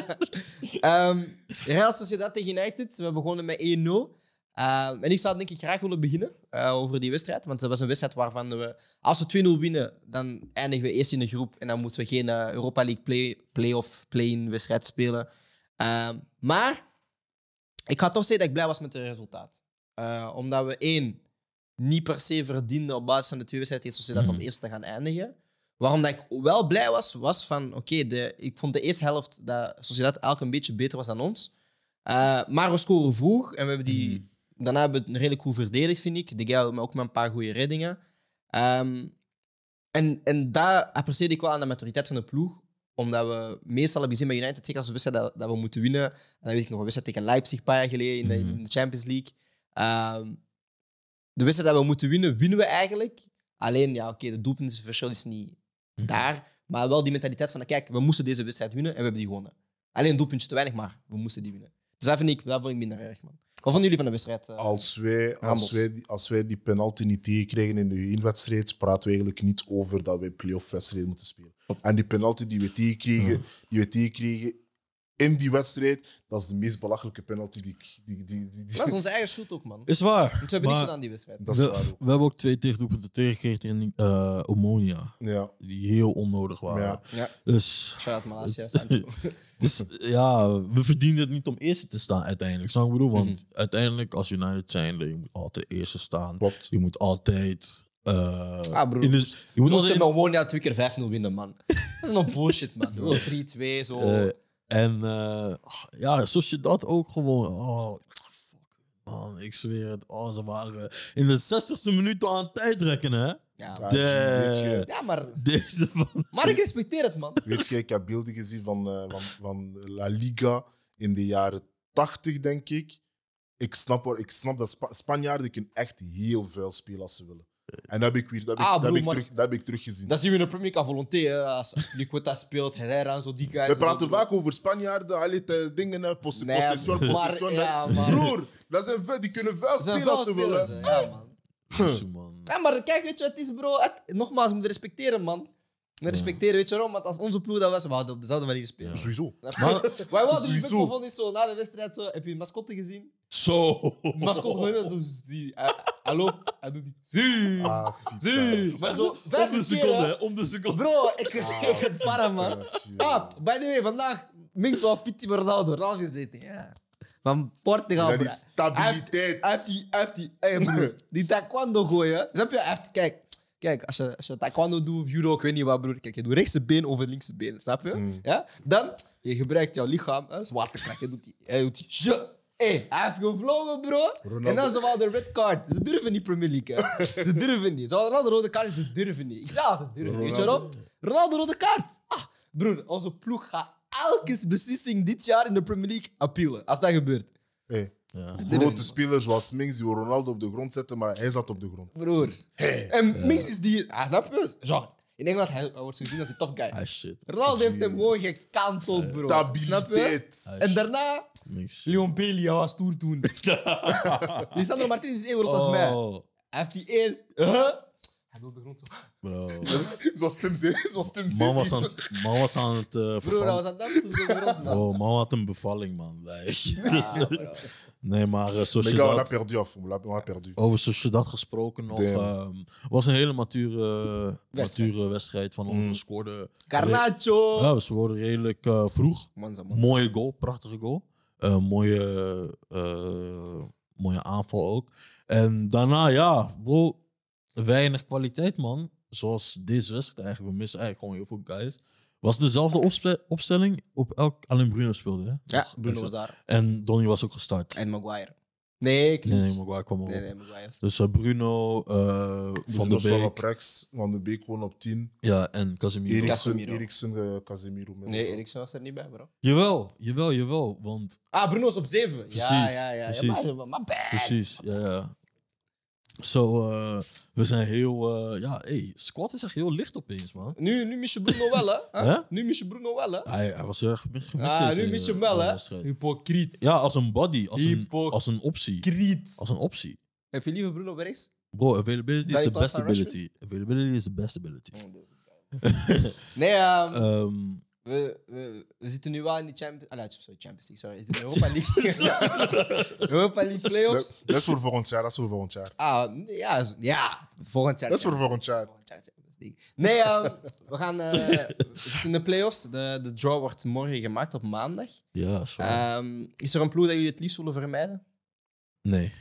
B: Ehm Real Sociedad tegen United. We begonnen met 1-0. Ehm, en ik zou denk ik graag willen beginnen eh, over die wedstrijd. Want dat was een wedstrijd waarvan we, als we 2-0 winnen, dan eindigen we eerst in de groep. En dan moeten we geen eh, Europa League play, play-off, play-in wedstrijd spelen. Ehm, maar ik ga toch zeggen dat ik blij was met het resultaat. Eh, omdat we één, niet per se verdiende op basis van de twee wedstrijden tegen Sociedad
D: Mhm.
B: om eerst te gaan eindigen. Waarom dat ik wel blij was, was van oké, de ik vond de eerste helft dat Sociedad elk een beetje beter was dan ons. Eh, maar we scoren vroeg en we hebben die, daarna hebben we het redelijk goed verdedigd, vind ik. De Gea maar ook met een paar goede reddingen. Ehm, en, en daar apprecieer ik wel aan de maturiteit van de ploeg. Omdat we meestal hebben gezien bij United, zeker als we wisten dat, dat we moeten winnen. En dan weet ik nog, we wisten tegen Leipzig een paar jaar geleden in de,
D: Mhm.
B: in de Champions League. Ehm, de wedstrijd dat we moeten winnen, winnen we eigenlijk. Alleen, ja, oké, de doelpuntenverschil is niet
D: Mhm.
B: daar. Maar wel die mentaliteit van, kijk, we moesten deze wedstrijd winnen en we hebben die gewonnen. Alleen een doelpuntje te weinig, maar we moesten die winnen. Dus dat vind ik, dat vond ik minder erg, man. Wat vonden jullie van de wedstrijd? eh?
D: Oh.
C: Als wij,
B: Ramos.
C: als, wij, die- als wij die penalty niet tegenkregen in de U1-wedstrijd, praten we eigenlijk niet over dat wij playoff-wedstrijden moeten spelen. En die penalty die we tegenkregen, die we tegenkregen in die wedstrijd, dat is de meest belachelijke penalty die ik... Die, die, die, die-
B: Dat is onze eigen shoot ook, man.
D: Is waar.
B: Want we hebben niks
D: maar-
B: gedaan die wedstrijd.
C: Dat is
D: we,
C: waar ook.
D: we hebben ook twee tegendoepen tegengekregen tegen eh Omonia.
C: Ja.
D: Die heel onnodig waren.
C: Ja.
B: Ja.
D: Dus
B: Shout-out Malasia, Sancho.
D: Dus ja, we verdienen het niet om eerste te staan uiteindelijk. Snap je wat ik bedoel? Want
B: Mhm.
D: uiteindelijk, als United zijn, je moet altijd eerste staan.
C: Klopt.
D: Je moet altijd. eh,
B: Ah, broer.
D: in de, je moet
B: We
D: altijd
B: moesten
D: in-
B: met Omonia twee keer 5-0 winnen, man. Dat is nog bullshit, man. 3-2, zo.
D: eh, en eh, ja, zoals je dat ook gewoon. Oh, fuck, man, ik zweer het. Oh, ze waren in de 60ste minuut al aan het tijdrekken, hè?
B: ja.
D: De-
B: ja, maar...
D: Deze van.
B: Maar ik respecteer het, man.
C: Weet je, ik heb beelden gezien van, eh, van, van La Liga in de jaren 80, denk ik. Ik snap, wel- ik snap dat Spa- Spanjaarden kunnen echt heel veel spelen als ze willen. En dat heb ik, weer, dat heb ik,
B: Ah,
C: dat heb
B: broer,
C: ik
B: maar-
C: terug, dat heb ik teruggezien.
B: Dat zien we in de Premier League aan volonté. hè. Als Liquota speelt, Herrera en zo, die guys.
C: We
B: en zo,
C: praten
B: broer.
C: vaak over Spanjaarden, alle te- dingen, hè, possi-
B: Nee,
C: possession,
B: maar-
C: possession. hè.
B: ja, maar-
C: Broer, dat zijn veel, die kunnen veel
B: Dat zijn
C: spelen als
B: wel
C: ze willen.
B: spelers, hè. ja, man.
D: Jezus, man.
B: Ja, maar kijk, weet je wat het is, bro? Het- Nogmaals, je moet respecteren, man. Je moet respecteren, weet je waarom? Want als onze ploeg dat was, we hadden op dezelfde manier spelen.
C: Sowieso.
B: Maar, wij wouden dus
C: Sowieso.
B: voor van is zo, na de wedstrijd zo, heb je een mascotte gezien?
D: Zo.
B: Die mascotte gewoon net zo, die, hij, hij loopt, hij doet die, zie,
C: Ah, putain.
B: zie. Maar zo,
D: Om
B: vijf
D: de
B: keer,
D: seconde,
B: hè.
D: hè? Om de seconde.
B: Bro, ik ik het para, man.
C: Ja, shit.
B: Ah, by the way, vandaag minst wel fit met Ronaldo, Ronaldo gezeten, ja. Van Portugal,
C: Ja,
B: bro.
C: die stabiliteit.
B: Hij heeft die, hij heeft die, hey, broer, die taekwondo gooien. Snap je? Hij heeft- kijk, kijk als, je, als je taekwondo doet of judo, ik weet niet wat, broer. Kijk, je doet rechtse been over linkse been, snap je?
C: Mm.
B: Ja? Dan, je gebruikt jouw lichaam, hè, zwaartekracht. Je doet die, hij doet die, je. Hey, hij heeft gevlogen, bro.
C: Ronaldo.
B: En dan ze wel de red card. Ze durven niet Premier League, hè. Ze durven niet. Ze hadden al de rode kaart, ze durven niet. Ik zei al, ze durven niet. Weet je waarom? Ronaldo rode kaart. Ah, broer, onze ploeg gaat elke beslissing dit jaar in de Premier League appealen. Als dat gebeurt.
C: Hey,
D: Ja.
C: grote spelers zoals Mings die wil Ronaldo op de grond zetten, maar hij zat op de grond.
B: Broer. En Minks is die. Ah, snap je? Genre, in Engeland hij, hij wordt gezien als een tough guy.
D: Ah, shit.
B: Ronaldo heeft hem gewoon gekanteld, bro. Snap je?
C: Stabiliteit.
B: En daarna,
D: Ah, Niks.
B: Leon Bailey, hij was stoer toen.
D: Oh.
B: Lisandro Martinez is even groot als mij. Hij heeft die één. Huh? Hij doet de grond zo.
D: Bro.
C: Zoals Tim zei. Zoals Tim zei.
D: Man was aan, het- man was aan het. eh
B: Broer, hij
D: vervallen.
B: was aan het dansen op de grond, man.
D: Bro, man had een bevalling, man. Like.
B: Ja,
D: Oh.
B: bro.
D: nee, maar eh,
C: Les gars, on a
D: Sociedad,
C: perdu à fond. On a perdu.
D: over Sociedad gesproken nog.
C: Damn.
D: ehm, was een hele mature, eh,
B: Wedstrijd.
D: mature wedstrijd van ons.
C: Mm.
D: We scoorden,
B: Carnacho!
D: ja, we scoorden redelijk eh, vroeg.
B: Man, zo, man.
D: Mooie goal, prachtige goal. Eh, mooie, eh, mooie aanval ook. En daarna, ja, bro, weinig kwaliteit, man. Zoals deze wedstrijd eigenlijk. We missen eigenlijk gewoon heel veel guys. Was dezelfde opspe- opstelling op elk. Alleen Bruno speelde, hè?
B: Ja, Bruno was daar.
D: En Donny was ook gestart.
B: En Maguire. Nee,
D: Nee, nee,
B: Knies.
D: Maguire kwam erop.
B: Nee, nee, Maguire. was-
D: Dus eh, Bruno, eh,
B: Dus
D: Van de
C: Bruno op
D: Beek
C: rechts, Van de Beek gewoon op 10.
D: ja, en Casemiro.
C: Eriksen,
B: Casemiro.
C: Eriksen eh, Casemiro. met-
B: Nee, Eriksen was er niet bij, bro.
D: Jawel, jawel, jawel. Want
B: Ah, Bruno is op 7. Ja,
D: Precies,
B: ja, ja. ja
D: precies.
B: maar, maar, maar bad.
D: precies, ja, ja. Zo, eh, we zijn heel... eh, ja, hey, squad is echt heel licht opeens, man.
B: Nu, nu mis je Bruno wel, hè?
D: Hè?
B: Nu mis je Bruno wel, hè?
D: Hij, hij was heel erg gemist.
B: Ah,
D: deze,
B: nu mis je hem
D: eh,
B: wel, hè?
D: wedstrijd.
B: Hypocriet.
D: Ja, als een body, als een,
B: Hypocriet.
D: als een optie.
B: Kriet.
D: Als een optie.
B: Heb je liever Bruno op rechts?
D: Bro, availability
B: Dat
D: is
B: je
D: the
B: past
D: best
B: aan Rashford?
D: ability. Availability is the best ability.
B: Oh, Nee, ehm,
D: Ehm,
B: we, we, we zitten nu wel in de Champions... Ah, nee, sorry, Champions League, sorry. We zitten in de Europa League. Europa League playoffs.
C: Dat dat is voor volgend jaar, dat is voor volgend jaar.
B: Ah, nee, ja, zo- ja, volgend jaar.
C: Dat is voor
B: Champions
C: volgend
B: League.
C: jaar.
B: Volgend jaar Champions League. Nee, ehm, we gaan eh, we zitten in de playoffs. De, de draw wordt morgen gemaakt op maandag.
D: ja, sorry.
B: Ehm, is er een ploeg dat jullie het liefst willen vermijden?
D: nee.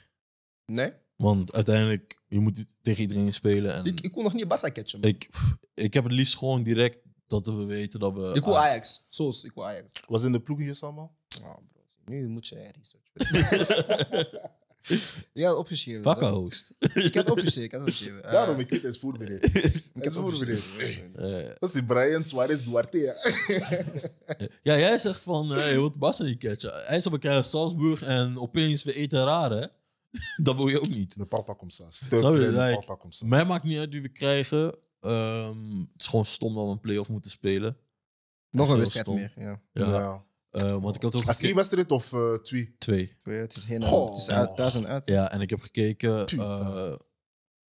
B: Nee.
D: Want uiteindelijk, je moet tegen iedereen spelen. En
B: Ik, ik wil nog niet Barça catchen. man.
D: Ik, pff, ik heb het liefst gewoon direct dat we weten dat we.
B: Ik wil
D: ah,
B: Ajax. Soos, ik wil Ajax.
C: Was in de ploegjes allemaal?
B: Oh, bro. Nu moet je research doen. Je had het opgeschreven.
D: Vakka
B: toch?
D: host.
B: Ik had het opgeschreven. Ik had het opgeschreven. Eh,
C: Daarom, ik weet, hij is voorbereid.
B: ik
C: Hij is voorbereid.
B: opgeschreven.
D: Eh,
C: Dat is die Brian Suarez Duarte. hè.
D: ja, jij zegt van, hey, je wilt Barca niet catchen. Hij is op een keer in Salzburg en opeens we eten raar, hè? dat wil je ook niet.
C: Ne parle pas comme ça. S'il
D: Snap
C: te
D: je,
C: plaît, ne
D: like-
C: parle pas comme ça.
D: Mij maakt niet uit wie we krijgen. Ehm, het is gewoon stom dat we een play-off moeten spelen.
B: Nog een
D: Heel
B: wedstrijd
D: stom.
B: meer. Ja.
D: Ja.
C: Ja.
D: Eh, want ik had
C: Als
D: ook
C: één
D: gekeken.
C: wedstrijd of eh, twee?
D: Twee.
B: Eh, Het is heen
C: Goh.
B: en het is uit, thuis en uit.
D: Ja, en ik heb gekeken
C: Putain.
D: eh,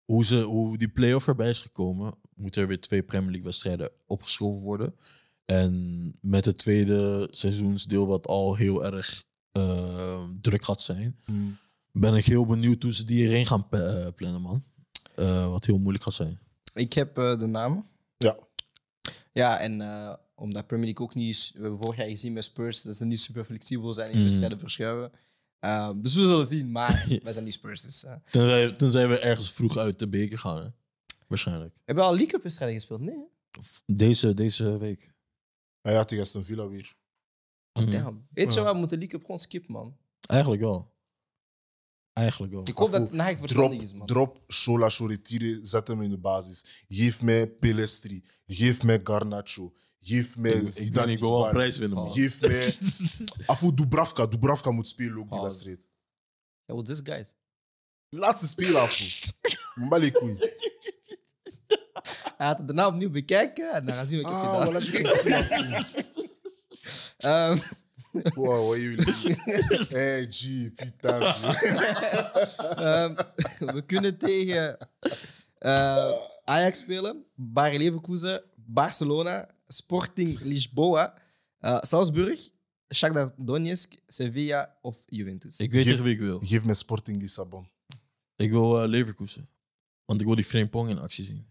D: hoe, ze, hoe die play-off erbij is gekomen. Moeten er weer twee Premier League wedstrijden opgeschoven worden. En met het tweede seizoensdeel, wat al heel erg eh, druk gaat zijn, ben ik heel benieuwd hoe ze die hierheen gaan pa- eh, plannen, man. Eh, wat heel moeilijk gaat zijn.
B: Ik heb eh, de namen.
C: Ja.
B: Ja, en eh, omdat Premier League ook niet... is- We hebben vorig jaar gezien met Spurs dat ze niet super flexibel zijn in
D: Mm.
B: wedstrijden verschuiven. Eh, dus we zullen zien, maar wij zijn niet Spurs. Dus, eh.
D: Tenzij, tenzij we ergens vroeg uit de beker gaan, hè? waarschijnlijk.
B: Hebben we al League Cup wedstrijden gespeeld? Nee. hè?
D: Deze, deze week.
C: Hij had tegen Aston Villa weer.
D: Mhm.
B: Damn. Weet je
C: Ja.
B: wat, we moeten League Cup gewoon skippen, man.
D: Eigenlijk wel. Eigenlijk wel.
B: Ik hoop dat
C: voel-
B: Nike verstandig
C: Drop,
B: is, man.
C: drop Shola Choretire, zet hem in de basis. Geef mij Pelestri. Geef mij Garnacho. Geef mij
D: Ik- ik, denk,
C: Zidane
D: ik wil wel een
C: Ibar.
D: prijs winnen,
B: Oh.
D: man.
C: Geef mij... Afu Dubravka. Dubravka moet spelen ook die
B: Pause.
C: wedstrijd.
B: Ja, well, this guy.
C: Laatste speler, Afu. Mbali koei.
B: Hij gaat het daarna opnieuw bekijken en dan gaan we zien wat ik heb
C: Ah,
B: gedaan.
C: voilà, je hebt het gedaan.
B: Ehm,
C: Wow, wat jullie... Hey, Eh, G, putain. bro.
B: ehm, we kunnen tegen eh, Ajax spelen, Bayer Leverkusen, Barcelona, Sporting Lisboa, eh, Salzburg, Shakhtar Donetsk, Sevilla of Juventus.
D: Ik weet
C: Je-
D: tegen wie ik wil.
C: Geef mij Sporting Lissabon.
D: Ik wil eh, Leverkusen. Want ik wil die Frimpong in actie zien.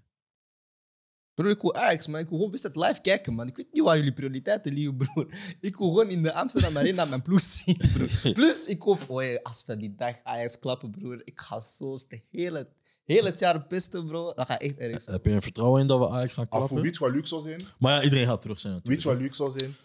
B: Broer, ik wil Ajax, maar ik wil gewoon best het live kijken, man. Ik weet niet waar jullie prioriteiten liggen, broer. Ik wil gewoon in de Amsterdam Arena mijn ploeg zien, broer. Plus, ik hoop, oei, als we die dag Ajax klappen, broer, ik ga zo de hele, hele het jaar pesten, bro. Dat gaat echt erg zijn.
D: Heb je er vertrouwen in dat we Ajax gaan
C: Afu,
D: klappen?
C: weet je wat leuk zou zijn?
D: Maar ja, iedereen gaat terug zijn
C: Weet
D: natuurlijk.
C: je wat leuk zou zijn?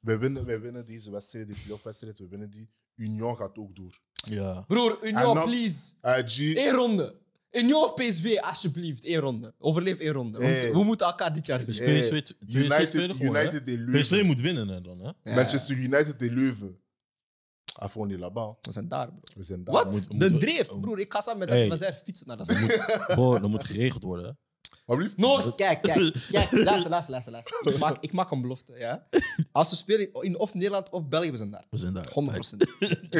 C: Wij winnen, wij winnen deze wedstrijd, die playoff wedstrijd, we winnen die. Union gaat ook door.
D: Ja.
B: Broer,
C: En
B: Union,
C: dan-
B: please.
C: Ah, G,
B: Eén ronde. Union of PSV, alsjeblieft. Één ronde. Overleef één ronde. want
C: Hey.
B: we moeten elkaar dit jaar zien.
D: Dus
C: Eh,
D: PSV, t- PSV tweede
C: United,
D: geworden, hè?
C: United in
D: PSV
C: Leuven.
D: moet winnen hè, dan, hè?
B: Ja,
C: Manchester United in Leuven. Afu, on est là-bas.
B: We zijn daar, bro.
C: We Oh. zijn daar.
B: Wat?
D: moet-
B: de
D: moet-
B: dreef, broer. Ik ga samen met
D: Hey.
B: hey. Mazer fietsen naar dat stad.
D: Bro, dat moet geregeld worden, hè?
C: Wat blieft?
B: Noors, kijk, kijk, kijk. Luister, luister, luister. luister. Ik, maak, ik maak een belofte, ja. Als we spelen in of Nederland of België, we zijn daar.
D: We zijn daar.
B: 100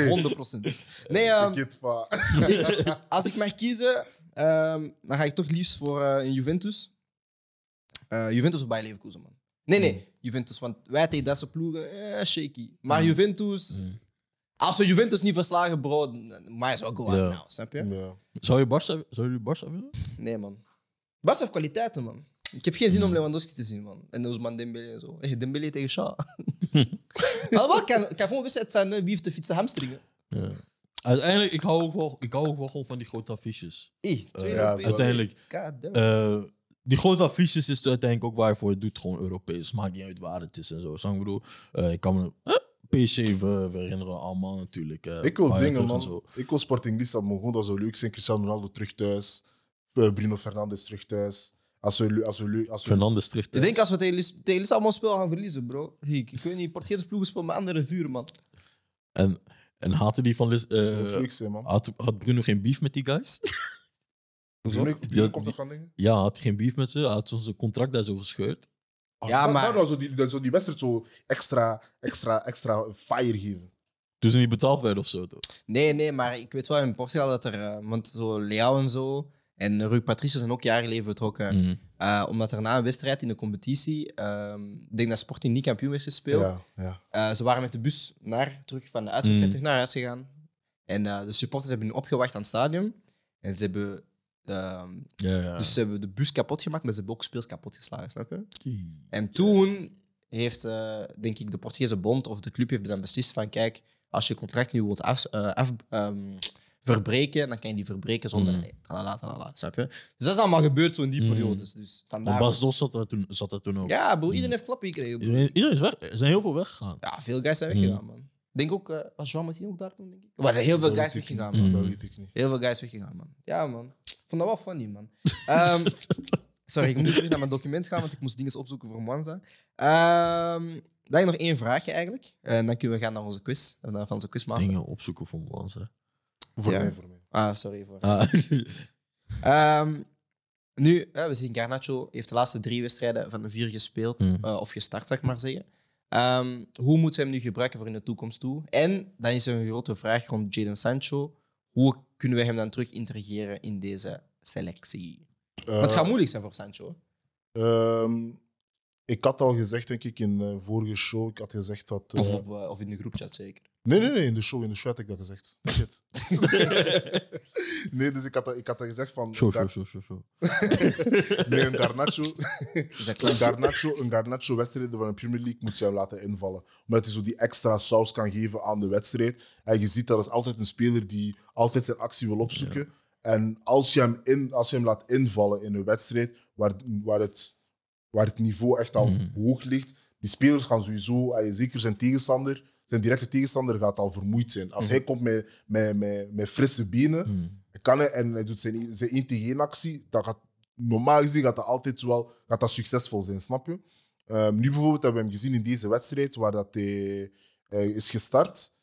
B: 100 Nee, ehm,
C: Ik het van.
B: als ik mag kiezen, Ehm, dan ga ik toch liefst voor eh, een Juventus. Eh, Juventus of Bayer Leverkusen, man. Nee,
D: Mm.
B: nee, Juventus. Want wij tegen dat soort ploegen, eh, shaky. Maar
D: Mm.
B: Juventus... Als we Juventus niet verslagen, bro, dan might as well go out
D: Ja. Mm.
B: now, snap je?
C: Ja.
D: Zou je Barca, zou jullie Barca willen?
B: Nee, man. Bas heeft kwaliteiten, man. Ik heb geen zin
D: Mm.
B: om Lewandowski te zien, man. En Ousmane Dembele en zo. Hey, Dembele tegen Shaw. Allemaal kan, kan gewoon wedstrijd zijn, hè. wie heeft de fietsen hamstringen?
D: Uiteindelijk, ik hou ook wel, ik hou ook wel gewoon van die grote affiches.
B: Hey, twee
C: ja,
B: Europese-
D: Uiteindelijk,
B: God damn.
D: eh, die grote affiches is uiteindelijk ook waarvoor het doet. Gewoon Europees. Maakt niet uit waar het is en zo. Zo, ik bedoel, eh, ik kan me... eh, PSG, we, we herinneren allemaal natuurlijk. eh,
C: Ik wil
D: Bayern
C: dingen,
D: thuis en
C: man. Ik wil Sporting Lissabon. Gewoon dat zou leuk zijn. Cristiano Ronaldo terug thuis. Eh, Bruno Fernandes terug thuis. Als we, le- als we, le- als we
D: Fernandes terug.
B: Ik denk als we tegen Lis- tegen Lissabon spelen, gaan we verliezen, bro. Zie Ik, ik weet niet, Portugese ploegen spelen met andere vuur, man.
D: En, en haatte die van... Lis- eh,
C: Dat moet leuk zijn, man.
D: had, had Bruno geen beef met die guys?
C: Bruno, Bruno
D: Ja,
C: komt
D: die-
C: er van dingen.
D: ja, had geen beef met ze. Had zo zijn contract daar zo gescheurd.
C: Ah,
B: Ja,
C: daar-
B: maar-
C: daar zou zo die, daar zou die wedstrijd zo extra, extra, extra fire geven.
D: Toen ze Dus niet betaald werden of zo. Toch?
B: Nee, nee, maar ik weet wel in Portugal dat er... eh, want zo Leao en zo... En Rui Patricio zijn ook jaren geleden vertrokken.
D: Mm.
B: Eh, omdat er na een wedstrijd in de competitie... ehm, ik denk dat Sporting niet kampioen werd gespeeld.
C: Ja, ja.
B: Eh, ze waren met de bus naar, terug van de uitwedstrijd
D: Mm.
B: terug naar huis gegaan. En eh, de supporters hebben hun opgewacht aan het stadion. En ze hebben, ehm,
D: Ja, ja.
B: dus ze hebben de bus kapot gemaakt, maar ze hebben ook speels kapot geslagen, snap je? En toen heeft, eh, denk ik, de Portugese bond of de club heeft dan beslist van, kijk, als je contract nu wilt af, eh, af- ehm, verbreken, dan kan je die verbreken zonder...
C: Mhm.
D: Mm.
B: Talala, talala, snap je? Dus dat is allemaal gebeurd zo in die
D: Mm.
B: periodes. Dus
D: Want
B: vandaar...
D: Bas Dos zat daar toen, zat daar toen ook.
B: ja, bro, iedereen heeft klappen gekregen. bro.
D: Iedereen, iedereen is weg. Er zijn heel veel weggegaan.
B: Ja, veel guys
C: Mhm.
B: zijn weggegaan, man. Ik denk ook, eh, was Jean Martin ook daar toen, denk ik? Er waren heel veel
C: Dat
B: guys
C: weet ik
B: weggegaan,
C: niet. Mhm.
B: man.
C: Dat
D: Mm.
C: weet ik niet.
B: Heel veel guys weggegaan, man. Ja, man. Ik vond dat wel funny, man. Ehm, sorry, ik moet terug naar mijn document gaan, want ik moest dingen opzoeken voor Mwanza. Ehm dan heb ik nog één vraagje eigenlijk. En dan kunnen we gaan naar onze quiz, eh, naar onze quizmaster.
D: Dingen opzoeken voor ons. Hè.
C: Voor
B: Ja.
C: mij, voor mij.
B: Ah, sorry voor.
D: Ah,
B: Ehm, nu, hè, we zien Garnacho heeft de laatste drie wedstrijden van de vier gespeeld,
D: Mm.
B: eh, of gestart, zou ik maar zeggen. Ehm, hoe moeten we hem nu gebruiken voor in de toekomst toe? En dan is er een grote vraag rond Jadon Sancho. Hoe kunnen we hem dan terug integreren in deze selectie? Want het
C: Eh,
B: gaat moeilijk zijn voor Sancho.
C: Ehm, ik had al gezegd, denk ik, in de vorige show. Ik had gezegd dat. eh,
B: Of, op, eh, of in de groepchat zeker.
C: nee, nee, nee, in de show, in de show had ik dat gezegd. Shit. nee, dus ik had, dat- ik had dat gezegd van.
D: zo, zo,
C: Gar-
D: zo, zo, zo.
C: Nee, een Garnacho.
B: Is dat
C: Een
B: klaar?
C: Garnacho, een Garnacho wedstrijd van de Premier League moet je hem laten invallen. Omdat hij zo die extra saus kan geven aan de wedstrijd. En je ziet dat is altijd een speler die altijd zijn actie wil opzoeken. En als je, hem in, als je hem laat invallen in een wedstrijd waar, waar, het, waar het niveau echt al
D: Mhm.
C: hoog ligt, die spelers gaan sowieso, allee, zeker zijn tegenstander, zijn directe tegenstander gaat al vermoeid zijn.
B: Mhm.
C: Als hij komt met, met, met, met frisse benen,
D: Mm.
C: hij kan het en hij doet zijn, e-, zijn 1 tegen 1 actie. Dat gaat, normaal gezien gaat dat altijd wel gaat dat succesvol zijn, snap je? Ehm, nu bijvoorbeeld hebben we hem gezien in deze wedstrijd waar dat hij eh, is gestart.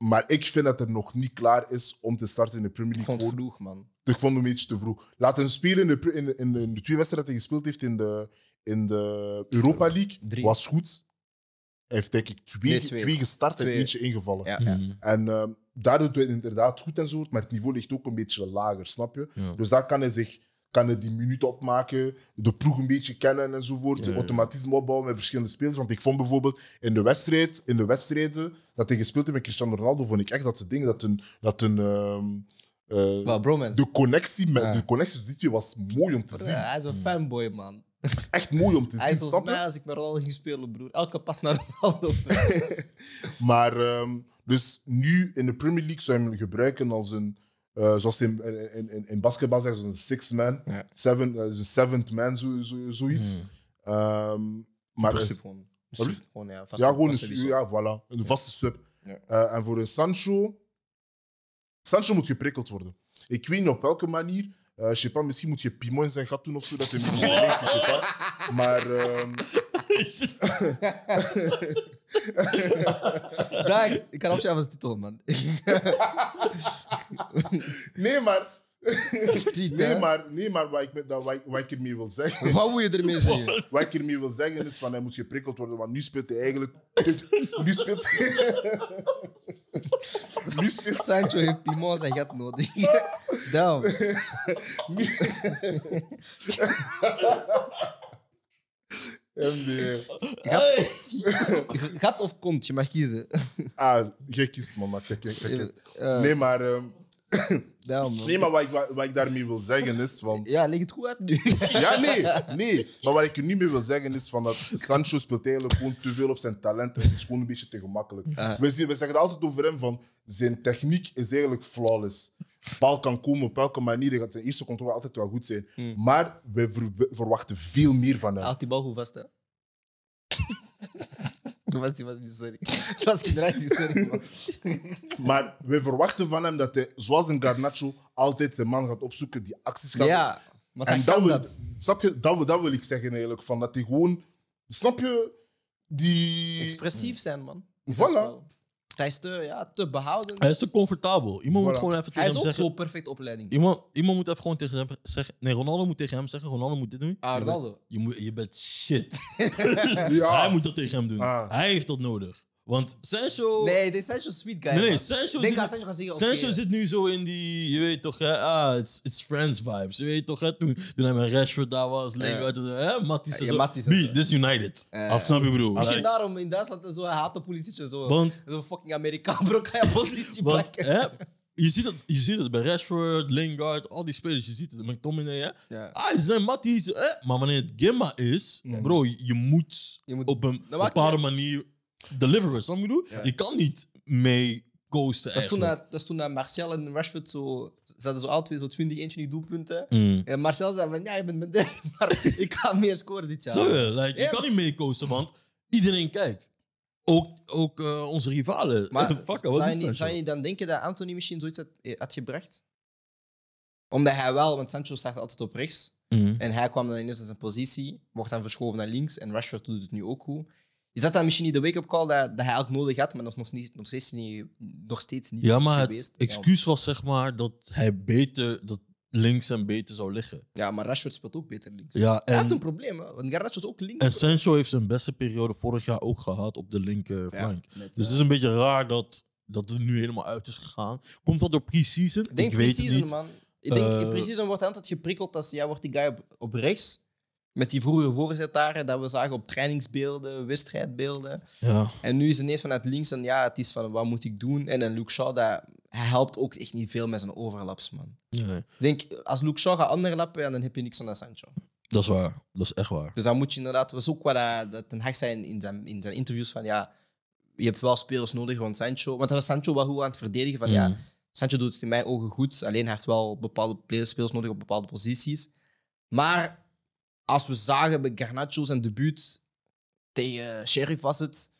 C: Maar ik vind dat hij nog niet klaar is om te starten in de Premier
B: Ik
C: League.
B: vond het
C: Gewoon-
B: vroeg, man.
C: Ik vond hem een beetje te vroeg. Laat hem spelen in de, pre- in, de- in de, in de twee wedstrijden die hij gespeeld heeft in de, in de Europa League.
B: Drie.
C: Was goed. Hij heeft denk ik twee,
B: Nee, twee.
C: twee. gestart
B: Twee.
C: en eentje ingevallen.
B: Ja, ja.
D: Mm.
C: En ehm daardoor doet hij inderdaad goed en zo, maar het niveau ligt ook een beetje lager, snap je?
D: Ja.
C: Dus daar kan hij zich kan hij die minuut opmaken, de ploeg een beetje kennen enzovoort,
D: Ja,
C: de
D: ja.
C: automatisme opbouwen met verschillende spelers. Want ik vond bijvoorbeeld in de, wedstrijd, in de wedstrijden dat hij gespeeld heeft met Cristiano Ronaldo, vond ik echt dat het ding, dat een, dat een ehm, eh,
B: Wel, bromance.
C: de connectie met
B: Ja.
C: de connectie tussen die was mooi om te
B: Broer,
C: zien.
B: Hij is een fanboy, man.
C: Het is echt mooi om te
B: Hij
C: zien,
B: is volgens
C: snap je?
B: mij als ik met Ronaldo ging spelen, broer. Elke pas naar Ronaldo.
C: Maar ehm, dus nu in de Premier League zou je hem gebruiken als een, eh, zoals ze in, in, in, in basketbal zeggen, zoals een six man,
B: Ja. Hmm.
C: seven, eh, dus een seventh man, zo, zo, zoiets.
D: Mm.
C: Ehm, maar
B: Een
C: is-
B: sub gewoon. Een
C: Wat
B: sub
C: is-
B: gewoon, ja. vast-
C: ja, gewoon een,
B: vast
C: su-
B: sowieso.
C: ja, voilà, een vaste sub.
B: Ja.
C: Eh, en voor een Sancho, Sancho moet geprikkeld worden. Ik weet niet op welke manier. Eh, Je sais pas, misschien moet je Pimo in zijn gat doen of zo, dat hij misschien leeft, je sais pas. Maar ehm,
B: Daar, ik kan opschrijven als titel, man.
C: nee, maar,
B: Piet,
C: nee,
B: hè?
C: maar, nee, maar wat ik, met- dat- wat ik, wat ik ermee wil zeggen.
B: Wat moet je ermee zeggen?
C: Wat ik hiermee wil zeggen is van hij moet geprikkeld worden, want nu speelt hij eigenlijk. Nu speelt, Nu speelt
B: Sancho heeft Pimon zijn gat nodig. Damn.
C: MDR.
B: Gat, gat of kont, je mag kiezen.
C: Ah, jij kiest, man. Maar kijk, kijk, kijk.
B: Eh,
C: Nee, maar, ehm,
B: damn, man.
C: nee, maar wat, ik, wat, wat ik daarmee wil zeggen is van...
B: Ja, leg het goed uit nu.
C: Ja, nee, nee. Maar wat ik er niet mee wil zeggen is van dat Sancho speelt eigenlijk gewoon te veel op zijn talent. En het is gewoon een beetje te gemakkelijk.
B: Ah.
C: We, zien, we zeggen altijd over hem van zijn techniek is eigenlijk flawless. Paal kan komen op elke manier. Hij gaat zijn eerste controle altijd wel goed zijn.
B: Hmm.
C: Maar we ver- we verwachten veel meer van hem.
B: Haalt die bal goed vast, hè? Dat was die was niet sorry. Dat was gedraaid, die sorry. man.
C: Maar we verwachten van hem dat hij, zoals een Garnacho, altijd zijn man gaat opzoeken, die acties gaat
B: Ja, maar
C: En
B: hij
C: dat
B: kan
C: wil,
B: dat.
C: Snap je? Dat, wil- dat wil ik zeggen eigenlijk. Van dat hij gewoon. Snap je? Die.
B: Expressief zijn, man. Dat
C: Voilà.
B: is wel- Hij is te, ja, te behouden.
D: Hij is te comfortabel. Iemand
C: Voilà.
D: moet gewoon even
B: Hij
D: tegen
B: is
D: hem
B: ook
D: zeggen.
B: zo perfect opleiding.
D: Iemand, iemand moet even gewoon tegen hem zeggen. Nee, Ronaldo moet tegen hem zeggen. Ronaldo moet dit doen.
B: Ah,
D: Je bent-
B: Ronaldo.
D: Je, moet, je bent shit.
C: Ja.
D: Hij moet dat tegen hem doen.
C: Ah.
D: Hij heeft dat nodig. Want Sancho. Nee,
B: Nee, dit is Sancho sweet guy.
D: nee,
B: man.
D: Sancho,
B: Ik denk
D: zit,
B: dat Sancho gaat zeggen, oké.
D: Sancho zit nu zo in die. Je weet toch, hè? Ah, it's, it's friends vibes. Je weet toch, hè? Toen, toen hij met Rashford daar was. Leo uit de- hè? Matties
B: Ja,
D: en zo.
B: Matties en zo.
D: Wie? Dit is United.
B: Eh.
D: Of snap je wat ik bedoel?
B: Misschien
D: Like,
B: daarom in Duitsland en zo, hij haat de politici zo.
D: want
B: Zo'n fucking Amerikaan, bro, kan je positie
D: Want
B: pakken.
D: hè, je, ziet het, je ziet het bij Rashford, Lingard, al die spelers. Je ziet het, McTominay. Hè?
B: Ja.
D: Ah, ze zijn matties. Hè? Maar wanneer het Gemma is,
C: Ja.
D: bro, je moet,
B: Je moet-
D: op een
B: Dat maakt
D: bepaalde manier deliveren. Snap je wat ik bedoel?
B: Nou, Ja.
D: Je kan niet mee coasten.
B: Dat is, toen
D: eigenlijk.
B: dat, dat is toen dat Marcel en Rashford zo... Ze hadden zo alle twee zo 20, 21 doelpunten.
D: Mm.
B: En Marcel zei van, ja, je bent mijn derde, maar ik ga meer scoren dit jaar.
D: Snap je? Like,
B: Ja,
D: je kan
B: maar-
D: niet mee coasten, want iedereen kijkt. Ook, ook eh, onze rivalen.
B: Maar
D: Fuck, wat
B: zou, je
D: is
B: niet,
D: dat,
B: zou je
D: joh?
B: niet dan denken dat Anthony misschien zoiets had, eh, had gebracht? Omdat hij wel, want Sancho staat altijd op rechts.
D: Mm.
B: En hij kwam dan ineens in zijn positie, wordt dan verschoven naar links. En Rashford doet het nu ook goed. Is dat dan misschien niet de wake-up call dat, dat hij eigenlijk nodig had, maar nog, nog, niet, nog steeds niet, nog steeds niet
D: Ja,
B: is
D: maar
B: geweest?
D: het excuus was zeg maar dat hij beter, dat links en beter zou liggen.
B: Ja, ja, maar Rashford speelt ook beter links.
D: Ja,
B: hij
D: en-
B: heeft een probleem, hè, want Garnacho is ook links.
D: En Sancho heeft zijn beste periode vorig jaar ook gehad op de linkerflank.
B: Ja, met,
D: Dus
B: eh,
D: het is een beetje raar dat, dat het nu helemaal uit is gegaan. Komt dat door pre-season?
B: Ik denk
D: ik weet het
B: pre-season,
D: niet.
B: man. Ik denk, in
D: Eh,
B: pre-season wordt altijd geprikkeld als ja, wordt die guy op, op rechts. Met die vroegere voorzetaren dat we zagen op trainingsbeelden, wedstrijdbeelden.
D: Ja.
B: En nu is het ineens vanuit links en ja, het is van wat moet ik doen? En een Luke Shaw, dat, hij helpt ook echt niet veel met zijn overlaps, man.
D: Nee,
B: Ik denk, als Luke Shaw gaat anderlappen, ja, dan heb je niks aan dat Sancho.
D: dat is waar. Dat is echt waar.
B: Dus dan moet je inderdaad, dat was ook wat dat, dat Ten Hag zei in- in zijn, in zijn interviews van ja, je hebt wel spelers nodig rond Sancho. Want dat was Sancho wel goed aan het verdedigen van ja,
D: Mm.
B: Sancho doet het in mijn ogen goed. Alleen hij heeft wel bepaalde players- spelers nodig op bepaalde posities. Maar als we zagen bij Garnacho zijn debuut tegen Sheriff was het.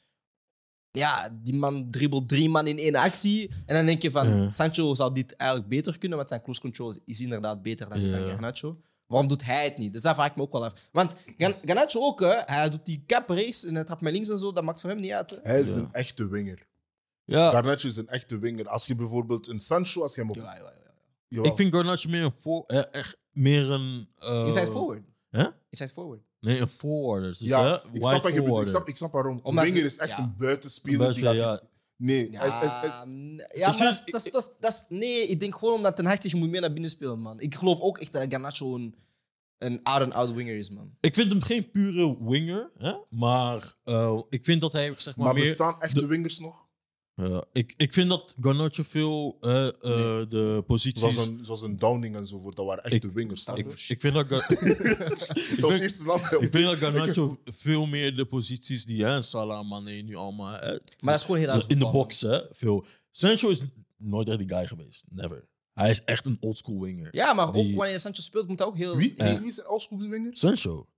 B: Ja, die man dribbelt drie man in één actie. En dan denk je van,
D: Ja.
B: Sancho zou dit eigenlijk beter kunnen, want zijn close control is inderdaad beter dan die van
D: Ja.
B: Garnacho. Waarom doet hij het niet? Dus daar vraag ik me ook wel af. Want Gan- Garnacho ook, hè, hij doet die cap rechts en hij trapt met links en zo, dat maakt voor hem niet uit. Hè.
C: Hij is
D: Ja.
C: een echte winger.
D: Ja,
C: Garnacho is een echte winger. Als je bijvoorbeeld een Sancho, als je hem op.
B: Ja, ja, ja.
C: Jawel.
D: ik vind Garnacho meer een voor, eh, echt meer een. eh,
B: Inside forward.
D: Hè?
B: Inside forward.
D: Nee, een forwarder. Dus, hè,
C: ja, ik snap,
D: wide
C: wat je bedoelt. ik,
D: forwarder.
C: snap, ik snap waarom. Een
B: Omdat ze-
C: winger is echt
B: ja.
C: een buitenspeler. die
D: Buiten,
C: gaat-
D: ja.
C: Nee, hij is- hij is- hij is-
B: Ja, mm, ja maar
D: Ik
B: dat
D: vind-
B: is- dat is- dat is- dat is- Nee, ik denk gewoon omdat Ten Hag zegt, je moet meer naar binnen spelen, man. Ik geloof ook echt dat Garnacho een, een out-and-out winger is, man.
D: Ik vind hem geen pure winger, hè? maar eh, ik vind dat hij zeg maar,
C: maar
D: meer
C: bestaan echte
D: de-
C: wingers nog?
D: Ja, ik, ik vind dat Garnacho veel eh, eh, de
C: Zoals
D: posities...
C: een, zoals een Downing enzovoort, dat waren echte
D: Ik-
C: wingers. snap
D: ik,
C: je?
D: ik vind dat, Gar-
C: Dat was eerst snap je?
D: ik vind dat Garnacho veel meer de posities die hè, Salah, Mane nu allemaal... hè,
B: Maar dat is gewoon heel hard
D: in de
B: voetbal, man.
D: box, hè, veel. Sancho is nooit echt die guy geweest. Never. Hij is echt een oldschool winger.
B: Ja, maar ook
D: Die-
B: wanneer Sancho speelt, moet hij ook heel...
C: Wie,
D: Eh.
C: wie, wie zijn oldschool wingers?
D: Sancho.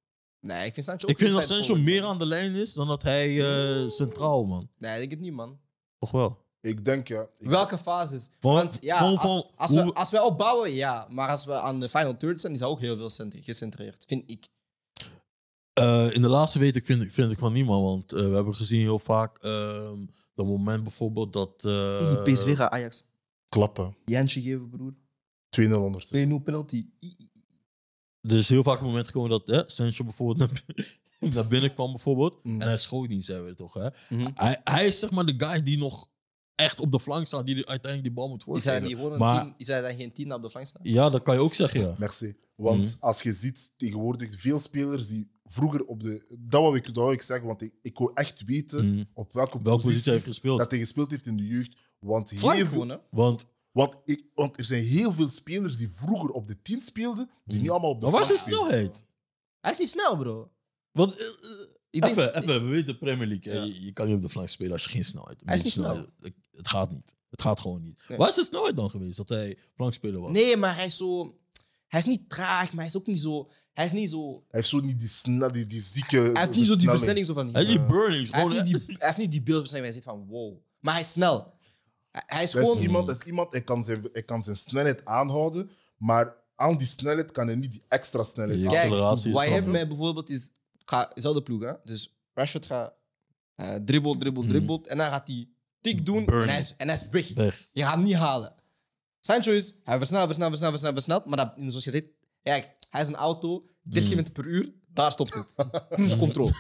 B: Nee, ik vind Sancho ook
D: Ik vind dat
B: inside
D: Sancho
B: forward,
D: meer
B: man.
D: aan de lijn is dan dat hij eh, centraal, man.
B: Nee, ik denk het niet, man.
D: Toch wel?
C: Ik denk ja. Ik-
B: Welke fases?
D: Van-
B: Want ja,
D: gewoon
B: als,
D: van
B: als,
D: hoe-
B: we, als we opbouwen, ja. Maar als we aan de final third zijn, is hij ook heel veel cent- gecentreerd, vind ik.
D: Eh, in de laatste week ik vind, vind ik van niemand. Want eh, we hebben gezien heel vaak ehm dat moment bijvoorbeeld dat... eh,
B: PSV gaat Ajax.
C: Klappen.
B: Jantje geven, broer.
C: 2-0 ondertussen.
B: 2-0 penalty. I- i-
D: Er is heel vaak een moment gewoon dat hè, Sancho bijvoorbeeld naar, binnen- naar binnen kwam bijvoorbeeld.
C: Mm.
D: En hij schoot niet, zijn we toch. Hè?
B: Mhm.
D: Hij, hij is zeg maar de guy die nog echt op de flank staat die uiteindelijk die bal moet
B: Is hij,
D: voorstellen.
B: niet gewoon een
D: maar-
B: tien, is hij dan geen tien op de flank staan?
D: Ja, dat kan je ook zeggen, ja.
C: Merci. Want
D: Mhm.
C: als je ziet tegenwoordig veel spelers die vroeger op de. Dat wou ik, dat wou ik zeggen, want ik, ik wil echt
B: Hm.
C: weten
D: Mhm.
C: op welke,
D: Welke positie hij heeft
C: posities
D: gespeeld.
C: dat hij gespeeld heeft in de jeugd. Want,
B: Flank
C: heel veel,
B: gewoon, hè?
D: Want
C: want, ik, want er zijn heel veel spelers die vroeger op de 10 speelden, die
D: Mhm.
C: nu allemaal op de
D: maar waar is de
C: flank spelen.
D: snelheid?
B: Hij is niet snel, bro.
D: Want, eh, eh,
B: Ik denk-
D: even, even, we weten de Premier League. hè.
B: Ja.
D: Je, je kan niet op de flank spelen als je geen snelheid hebt.
B: Hij is niet
D: Met
B: snel.
D: snelheid, Het, het gaat niet. Het gaat gewoon niet.
B: Nee.
D: Waar is de snelheid dan geweest dat hij flankspeler was?
B: Nee, maar hij is zo... Hij is niet traag, maar hij is ook niet zo... Hij is niet zo...
C: Hij heeft zo niet die, snel, die, die zieke. Hij
B: Hij heeft niet zo die versnelling zo van...
D: Hij is
B: Ja.
D: die Burnings.
B: Hij
D: Gewoon,
B: heeft niet die, hij heeft niet die beeldversnelling waar je zit van wow. Maar hij is snel. Hij, hij is
C: Dat
B: gewoon...
C: is iemand, dat is iemand hij, kan zijn, hij kan zijn snelheid aanhouden, maar aan die snelheid kan hij niet die extra snelheid
D: Ja.
C: aanhouden.
B: Kijk,
D: acceleratie is
B: wat je
D: van
B: hebt
D: hem.
B: met bijvoorbeeld is... ik Ga, zelfde ploeg, hè. Dus Rashford gaat eh dribbel, dribbel,
D: Hmm.
B: dribbel. En dan gaat hij tik doen en
D: Burning.
B: hij, is, en hij is weg.
D: Weg.
B: Je gaat hem niet halen. Sancho is... Hij versnelt, versnelt, versnelt, versnelt, versnelt. Maar dat, zoals je zegt... Kijk, hij is een auto. 30 km per uur. Daar stopt het. Cruise control.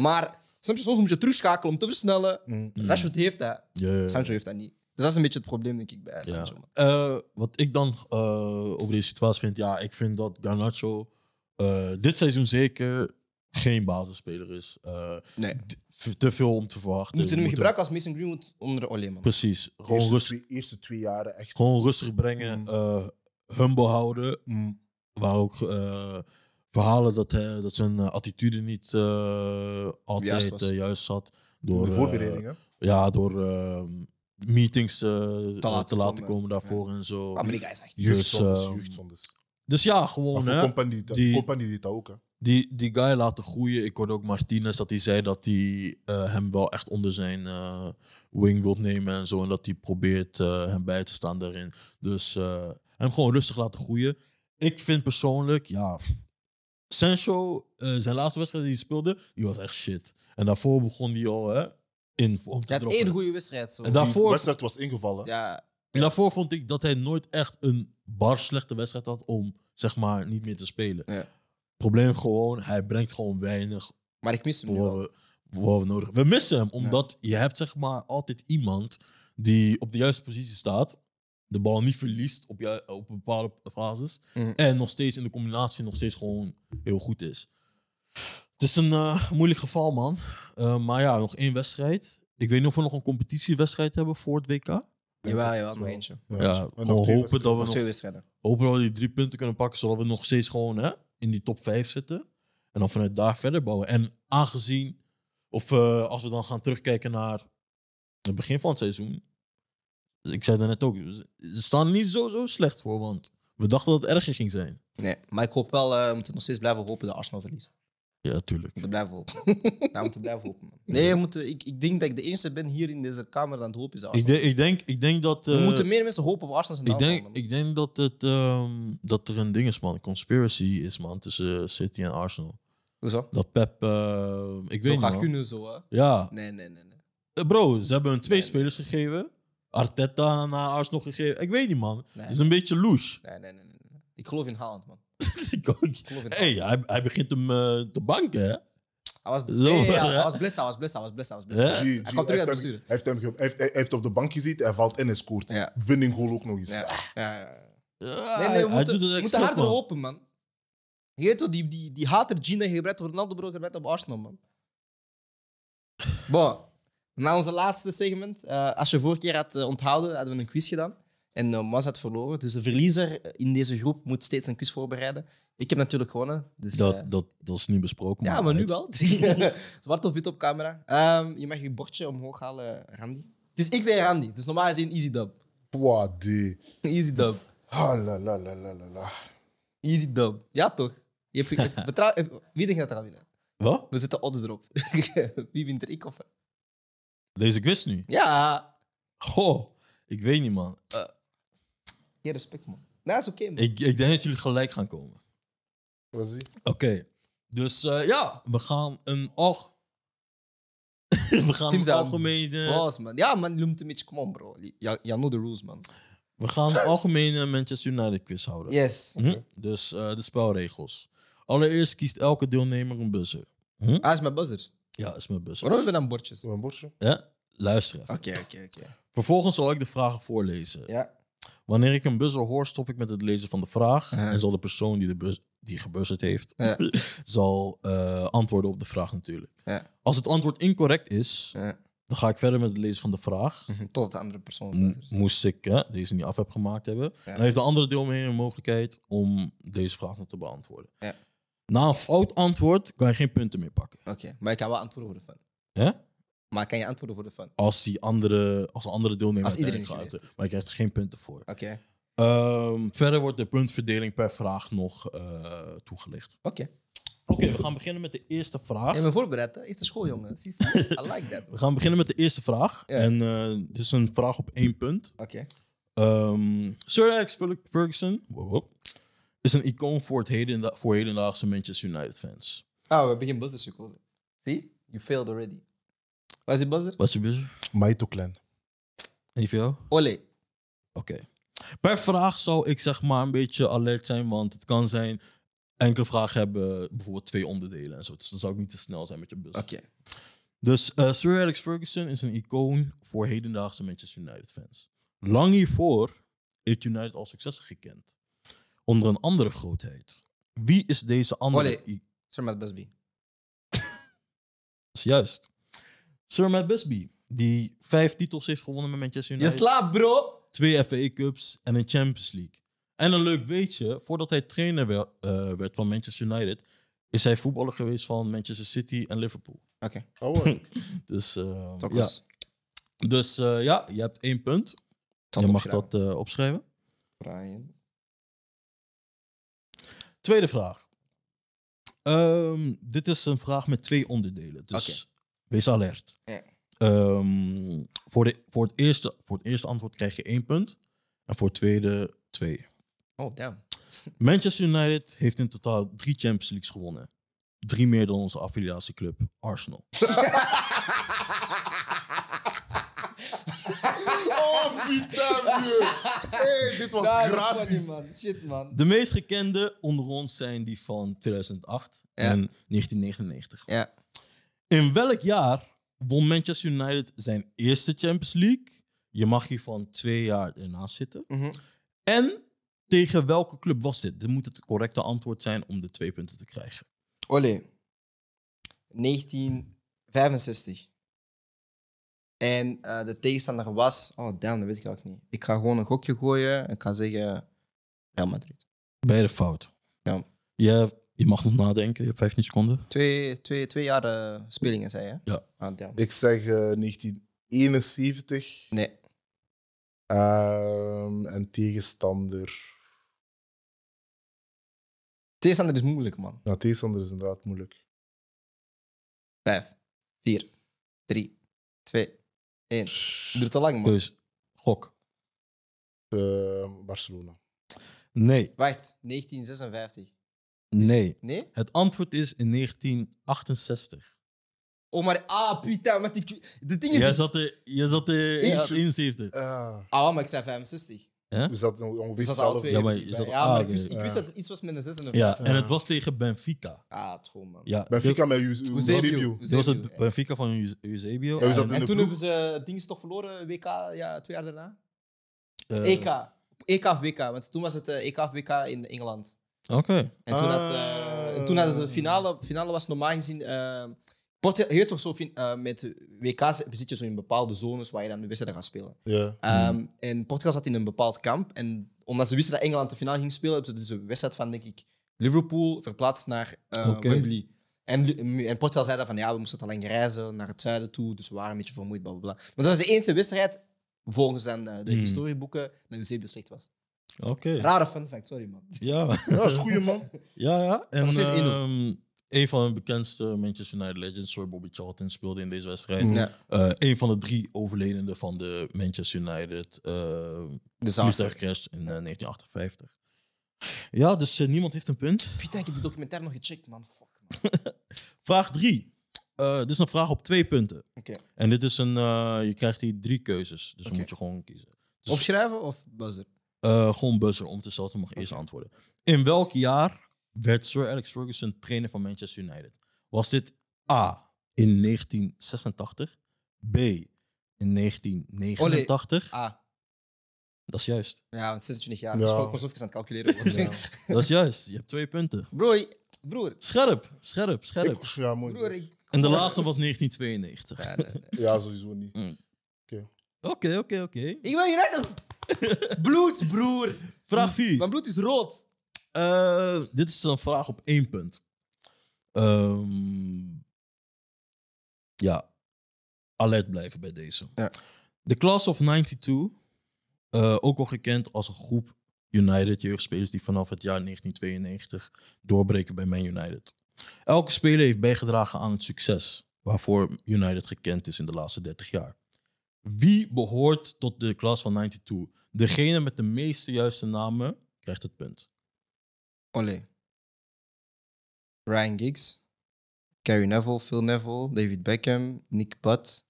B: maar... Snap je, soms moet je terugschakelen om te versnellen.
C: Mm.
B: Rashford heeft dat.
D: Ja, ja, ja.
B: Sancho heeft dat niet. Dus dat is een beetje het probleem, denk ik, bij Sancho. man.
D: Eh, wat ik dan eh, over deze situatie vind, ja, ik vind dat Garnacho eh, dit seizoen zeker geen basisspeler is. Eh,
B: Nee.
D: d- te veel om te verwachten.
B: Moeten we hem
D: Moeten-
B: gebruiken als Mason Greenwood onder Olé, man.
D: Precies.
C: De
D: Gewoon,
C: eerste,
D: rust,
C: twee, eerste twee jaren echt.
D: gewoon rustig brengen.
C: Mm.
D: eh, humble houden.
C: Mm.
D: Waar ook eh, verhalen dat, hij, dat zijn eh, attitude niet eh, altijd
B: Juist
D: juist,
B: was.
D: juist zat.
C: Door
D: Door,
C: de
D: eh,
C: voorbereidingen.
D: ja, door eh, meetings eh, te,
B: laten
D: laten
B: komen.
D: komen, daarvoor en zo.
B: Maar die guy is echt...
D: Ja. dus,
C: Jeugdzondes,
D: ehm,
C: jeugdzondes.
D: Dus ja,
C: Maar
D: gewoon
C: voor
D: hè.
C: Company deed dat-
D: die-
C: Company deed dat ook. Hè.
D: die, die guy laten groeien. Ik hoorde ook Martinez dat hij zei dat hij eh, hem wel echt onder zijn eh, wing wilt nemen en zo. En dat hij probeert eh, hem bij te staan daarin. Dus eh, hem gewoon rustig laten groeien. Ik vind persoonlijk, ja. Sancho, eh, zijn laatste wedstrijd die hij speelde, die was echt shit. En daarvoor begon hij al hè, in vorm te
B: Je had
D: droppen.
B: één goede wedstrijd, zo.
D: En
C: Die
D: daarvoor-
C: wedstrijd was ingevallen.
B: Ja,
D: En daarvoor vond ik dat hij nooit echt een bar slechte wedstrijd had om zeg maar niet meer te spelen.
B: Ja.
D: Probleem gewoon, hij brengt gewoon weinig
B: maar ik mis hem nu
D: voor
B: wel.
D: we, voor we nodig We missen hem, omdat je hebt zeg maar altijd iemand die op de juiste positie staat, de bal niet verliest op, ju- op bepaalde fases
B: Mhm.
D: en nog steeds in de combinatie nog steeds gewoon heel goed is. Het is een eh, moeilijk geval, man. Eh, maar ja, nog één wedstrijd. Ik weet niet of we nog een competitiewedstrijd hebben voor het WK.
B: Jawel, jawel, nog eentje.
C: Ja,
D: Ja,
C: en Oh, nog
D: gewoon
C: twee
D: hopen
C: wedstrijden.
D: dat, we
B: Nog twee
D: nog,
B: wedstrijden.
D: hopen dat we die drie punten kunnen pakken, zodat we nog steeds gewoon hè, in die top vijf zitten. En dan vanuit daar verder bouwen. En aangezien, of eh, als we dan gaan terugkijken naar het begin van het seizoen. Ik zei dat net ook, ze ze staan er niet zo, zo slecht voor, want we dachten dat het erger ging zijn.
B: Nee, maar ik hoop wel, eh, we moeten nog steeds blijven hopen dat Arsenal verliest.
D: Ja,
B: We
D: tuurlijk.
B: moeten blijven hopen. ja, we moeten blijven hopen, man. Nee, we moeten, ik, ik denk dat ik de enige ben hier in deze kamer dat aan het hopen is dat
D: Ik,
B: Arsenal.
D: denk- ik, denk, ik denk dat...
B: we
D: eh,
B: moeten meer mensen hopen op Arsenal zijn
D: ik denk,
B: aanval, man.
D: ik denk dat, het, ehm, dat er een ding is, man. Een conspiracy is, man, tussen eh, City en Arsenal.
B: Hoezo?
D: Dat Pep... eh, ik
B: Zo
D: weet niet,
B: gaat
D: man.
B: kunnen zo, hè.
D: Ja.
B: Nee, nee, nee. nee.
D: Eh, Bro, ze hebben hun twee
B: Nee,
D: spelers gegeven. Arteta naar Arsenal gegeven. Ik weet niet, man. Het
B: Nee.
D: is een beetje loose.
B: Nee, nee, nee, nee, nee. Ik geloof in Haaland, man.
D: Ik ook.
B: Ik geloof in
D: hey, hij, hij begint hem eh, te banken, hè?
B: Hij was,
D: Zo,
B: nee, ja,
D: hè?
B: hij was blessed, hij was blessed, hij was blessed, hij was blessed.
D: Ja?
C: G- G-
B: Hij kwam terug uit
C: heeft hem-
B: blessure.
C: hij heeft hem ge- hij heeft- Hij heeft op de bank gezeten, hij valt en hij scoort.
B: Ja.
C: Winning goal ook nog eens. Ah,
B: Ja, ja, ja.
D: Ja,
B: Nee,
D: Ah, hij-
B: nee, we moeten,
D: hij doet het
B: we moeten
D: expres,
B: harder
D: man.
B: hopen, man. Je weet toch, die, die, die hater Gina gebruikt door Ronaldo Bro gebruikt op Arsenal, man. Bo, na onze laatste segment. eh, als je vorige keer had eh, onthouden, hadden we een quiz gedaan. En eh, Mas had verloren. Dus de verliezer in deze groep moet steeds een quiz voorbereiden. Ik heb natuurlijk gewonnen. Dus, eh,
D: Dat, dat, dat is niet besproken.
B: ja, maar nu
D: het-
B: wel. Zwart op wit op camera. Ehm, je mag je bordje omhoog halen, Randy. Dus ik deed Randy. Dus normaal gezien easy dub.
C: Pwa, die.
B: Easy dub.
C: Ah, la, la, la, la, la, la.
B: Easy dub. Ja, toch? Je hebt, je hebt- betrouw- wie denk je dat er aan winnen?
D: Wat?
B: We zetten odds erop. wie wint er? Ik of...
D: Deze quiz nu?
B: Ja.
D: Goh, ik weet niet, man. Eh,
B: Geen respect, man. Nou, is oké, man.
D: ik, ik denk dat jullie gelijk gaan komen.
C: Wat is die?
D: Oké. Dus eh, ja, we gaan een... Och. we gaan
B: Team
D: een
B: zijn-
D: algemene...
B: Boss, man. Ja, man. Je moet een beetje... Come on, bro. Ja, you know the rules, man.
D: We gaan de algemene Manchester United quiz houden.
B: Yes.
D: Mhm. Dus eh, de spelregels. Allereerst kiest elke deelnemer een buzzer.
B: Ah, is mijn buzzers.
D: Ja, is mijn buzzer.
B: Waarom hebben we dan bordjes?
C: Zo'n bordje?
D: Ja? Luister even.
B: Oké, oké, oké.
D: Vervolgens zal ik de vragen voorlezen.
B: Ja.
D: Wanneer ik een buzzer hoor, stop ik met het lezen van de vraag.
B: Ja.
D: En zal de persoon die, de bus, die gebuzzerd heeft,
B: Ja.
D: zal eh, antwoorden op de vraag natuurlijk.
B: Ja.
D: Als het antwoord incorrect is,
B: Ja.
D: dan ga ik verder met het lezen van de vraag.
B: Mhm, Tot de andere persoon.
D: M-
B: luistert.
D: moest ik hè, deze niet af heb gemaakt hebben.
B: Ja.
D: Dan heeft de andere deelnemer een mogelijkheid om deze vraag nog te beantwoorden.
B: Ja.
D: Na een fout antwoord kan je geen punten meer pakken.
B: Oké, maar ik kan wel antwoorden voor de fun.
D: Hè?
B: Maar ik kan je antwoorden voor de fun?
D: Als, die andere, als de andere deelnemer
B: Als iedereen
D: uiteindelijk
B: is
D: gaat, Maar je krijgt er geen punten voor.
B: Oké,
D: Ehm, verder wordt de puntverdeling per vraag nog eh, toegelicht.
B: oké.
D: Oké, we gaan beginnen met de eerste vraag.
B: Je bent voorbereid, hè? Eerste schooljongen. Zie je? I like that.
D: We gaan beginnen met de eerste vraag.
B: Ja.
D: En eh dit is een vraag op één punt.
B: Oké.
D: Ehm, Sir Alex Ferguson wow, wow, is een icoon voor, het hedenda voor hedendaagse Manchester United fans.
B: Oh, we beginnen buzzer cirkels. Zie? You failed already. Waar is die buzzer?
D: Wat is je bezig?
C: Maito Clan.
D: En voor jou?
B: Olé.
D: Oké. Per vraag zou ik zeg maar een beetje alert zijn, want het kan zijn... Enkele vragen hebben bijvoorbeeld twee onderdelen en zo. Dus dan zou ik niet te snel zijn met je bus.
B: Oké.
D: Dus eh, Sir Alex Ferguson is een icoon voor hedendaagse Manchester United fans. Lang hiervoor heeft United al successen gekend. Onder een andere grootheid. Wie is deze andere...
B: Olé.
D: i-
B: Sir Matt Busby.
D: Juist. Sir Matt Busby, die vijf titels heeft gewonnen met Manchester
B: Je
D: United.
B: slaapt, bro!
D: twee FA Cups en een Champions League. En een leuk weetje, voordat hij trainer wer- eh, werd van Manchester United... is hij voetballer geweest van Manchester City en Liverpool.
B: Oké,
C: Oh, wow.
D: Dus eh,
B: toch
D: ja.
B: eens.
D: Dus eh, ja, je hebt één punt.
B: Tot
D: je mag
B: opschrijven.
D: dat eh, opschrijven.
B: Brian.
D: Tweede vraag. Ehm, dit is een vraag met twee onderdelen. Dus wees alert.
B: Ja.
D: Ehm, voor, de, voor, het eerste, voor het eerste antwoord krijg je één punt. En voor het tweede twee.
B: Oh, damn.
D: Manchester United heeft in totaal drie Champions Leagues gewonnen. Drie meer dan onze affiliatieclub Arsenal.
C: Oh, Vita, vieux. Hey, dit was
B: Daar is
C: gratis.
B: funny, man. Shit, man.
D: De meest gekende onder ons zijn die van 2008
B: Ja.
D: en 1999.
B: Ja.
D: In welk jaar won Manchester United zijn eerste Champions League? Je mag hiervan twee jaar ernaast zitten.
B: Mhm.
D: En tegen welke club was dit? Dit moet het correcte antwoord zijn om de twee punten te krijgen.
B: Olé. 1965. En eh, de tegenstander was... Oh, damn, dat weet ik ook niet. Ik ga gewoon een gokje gooien. Ik ga zeggen... Real Madrid.
D: Beide fout.
B: Ja.
D: Je, je mag nog nadenken, je hebt 15 seconden.
B: Twee, twee, twee jaar eh, spelingen, zei je? hè?
D: Ja.
B: Ah, damn.
C: Ik zeg eh, 1971.
B: Nee.
C: Ehm, en tegenstander.
B: Tegenstander is moeilijk, man.
C: Nou, tegenstander is inderdaad moeilijk.
B: Vijf, vier, drie, twee, één. Duurt te lang, man.
D: Dus, gok.
C: Eh, Barcelona.
D: Nee,
B: Wacht, 1956.
D: nee.
B: Nee?
D: Het antwoord is in 1968.
B: Oh, maar... Ah, Pita, met die... kwi- De ding is...
D: Jij zat er, jij zat er
B: Ik-
D: jij had 71.
C: Ah,
B: Ah, maar ik zei 65.
C: we zaten ongeveer
B: Dus dat is alle
C: hetzelfde.
B: twee.
D: Ja, maar
B: even
D: je
B: dichtbij.
D: zat-
B: ja,
D: ah,
B: maar ik
D: oké.
B: wist, ik wist
C: Ja.
B: dat het iets was met een 6 en een
D: Ja,
B: 5.
D: en het was tegen Benfica.
B: Ah, het gewoon, man.
D: Ja,
C: Benfica met Eus- Eusebio.
B: Eusebio.
D: Dat was
B: Eusebio,
D: het
B: ja.
D: Benfica van Euse- Eusebio.
C: Ja, we zaten
D: En,
B: En
C: de
B: toen
C: ploeg.
B: hebben ze het ding is toch verloren, WK, ja, twee jaar daarna? E
D: eh,
B: EK. EK of WK, want toen was het eh, EK of WK in Engeland.
D: Oké.
B: En toen, had,
C: Ah.
B: eh, en toen hadden ze de finale, finale was normaal gezien... eh Portu- je weet toch zo, fin- eh, met WK's zit je zo in bepaalde zones waar je dan de wedstrijden gaat spelen.
C: Ja.
D: Hmm.
B: Ehm, En Portugal zat in een bepaald kamp. En omdat ze wisten dat Engeland de finale ging spelen, hebben ze dus een wedstrijd van, denk ik, Liverpool verplaatst naar eh,
D: Oké.
B: Wembley. En, Li- mm, en Portugal zei dan van ja, we moesten te lang reizen naar het zuiden toe, dus we waren een beetje vermoeid, bla bla bla. Maar dat was de enige wedstrijd, volgens dan, eh, de
D: Hmm.
B: historieboeken, dat Eusebio slecht was.
D: Oké.
B: Rare fun fact, sorry man.
D: Ja.
C: Ja, dat is een goeie man.
D: ja, ja. En
B: nog steeds
D: ehm, een van de bekendste Manchester United legends, Sir Bobby Charlton, speelde in deze wedstrijd.
C: Mm.
B: Ja,
D: Eh, een van de drie overledenden van de Manchester United eh
B: de zaak.
D: vliegtuigcrash in eh, 1958. Ja, dus eh, niemand heeft een punt.
B: Pieter, ik heb de documentaire nog gecheckt, man. Fuck, man.
D: Vraag drie. Eh, dit is een vraag op twee punten.
B: Oké.
D: En dit is een, eh, je krijgt hier drie keuzes, dus
B: Oké.
D: dan moet je gewoon kiezen. Dus-
B: Opschrijven of buzzer?
D: Eh, gewoon buzzer om te zelf mag eerst antwoorden. In welk jaar werd Sir Alex Ferguson trainer van Manchester United? Was dit A in 1986, B in 1989.
B: Ah,
D: Dat is juist.
B: ja, want 26 jaar.
C: Ja.
B: Dus ik moest even aan het calculeren. worden.
C: Ja.
D: Dat is juist. Je hebt twee punten.
B: Broer, broer,
D: Scherp, scherp, scherp.
C: Ik, ja, mooi.
B: broer, ik...
D: En de laatste was 1992.
B: Ja, nee, nee.
C: Ja, sowieso niet.
D: Oké, oké, oké.
B: Ik wil je redden. Bloed, broer.
D: Vraag 4.
B: Mijn bloed is rood.
D: Eh, dit is een vraag op één punt. Ehm, ja, alert blijven bij deze.
B: Ja.
D: De Class of 92, eh, ook wel gekend als een groep United jeugdspelers die vanaf het jaar 1992 doorbreken bij Man United. Elke speler heeft bijgedragen aan het succes waarvoor United gekend is in de laatste 30 jaar. Wie behoort tot de Class van 92? Degene met de meeste juiste namen krijgt het punt.
B: Olé. Ryan Giggs. Gary Neville, Phil Neville, David Beckham, Nick Butt.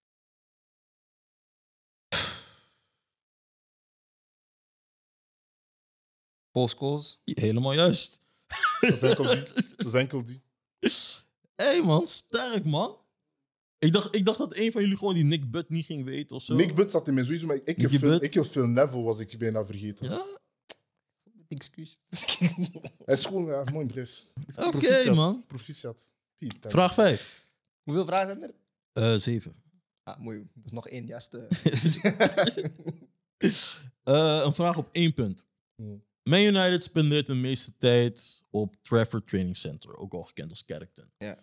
B: Paul Scholes.
D: Helemaal juist.
C: Dat is enkel die. Dat is enkel die.
D: Hé hey man, sterk man. Ik dacht, ik dacht dat een van jullie gewoon die Nick Butt niet ging weten of zo.
C: Nick Butt zat in mijn sowieso, maar ik,
D: Nicky
C: ik, Phil,
D: Butt?
C: ik heel Phil Neville was ik bijna vergeten.
D: Ja?
B: Excuses.
C: Hij is gewoon ja, mooi brief.
D: Oké man.
C: Proficiat. Piet, dank
D: Vraag
C: je.
D: 5.
B: Hoeveel vragen zijn er?
D: Eh 7.
B: Ah, mooi. Dat is nog één eh. juiste.
D: Eh, een vraag op één punt.
C: Hmm.
D: Man United spendeert de meeste tijd op Trafford Training Center, ook al gekend als Carrington.
B: Ja.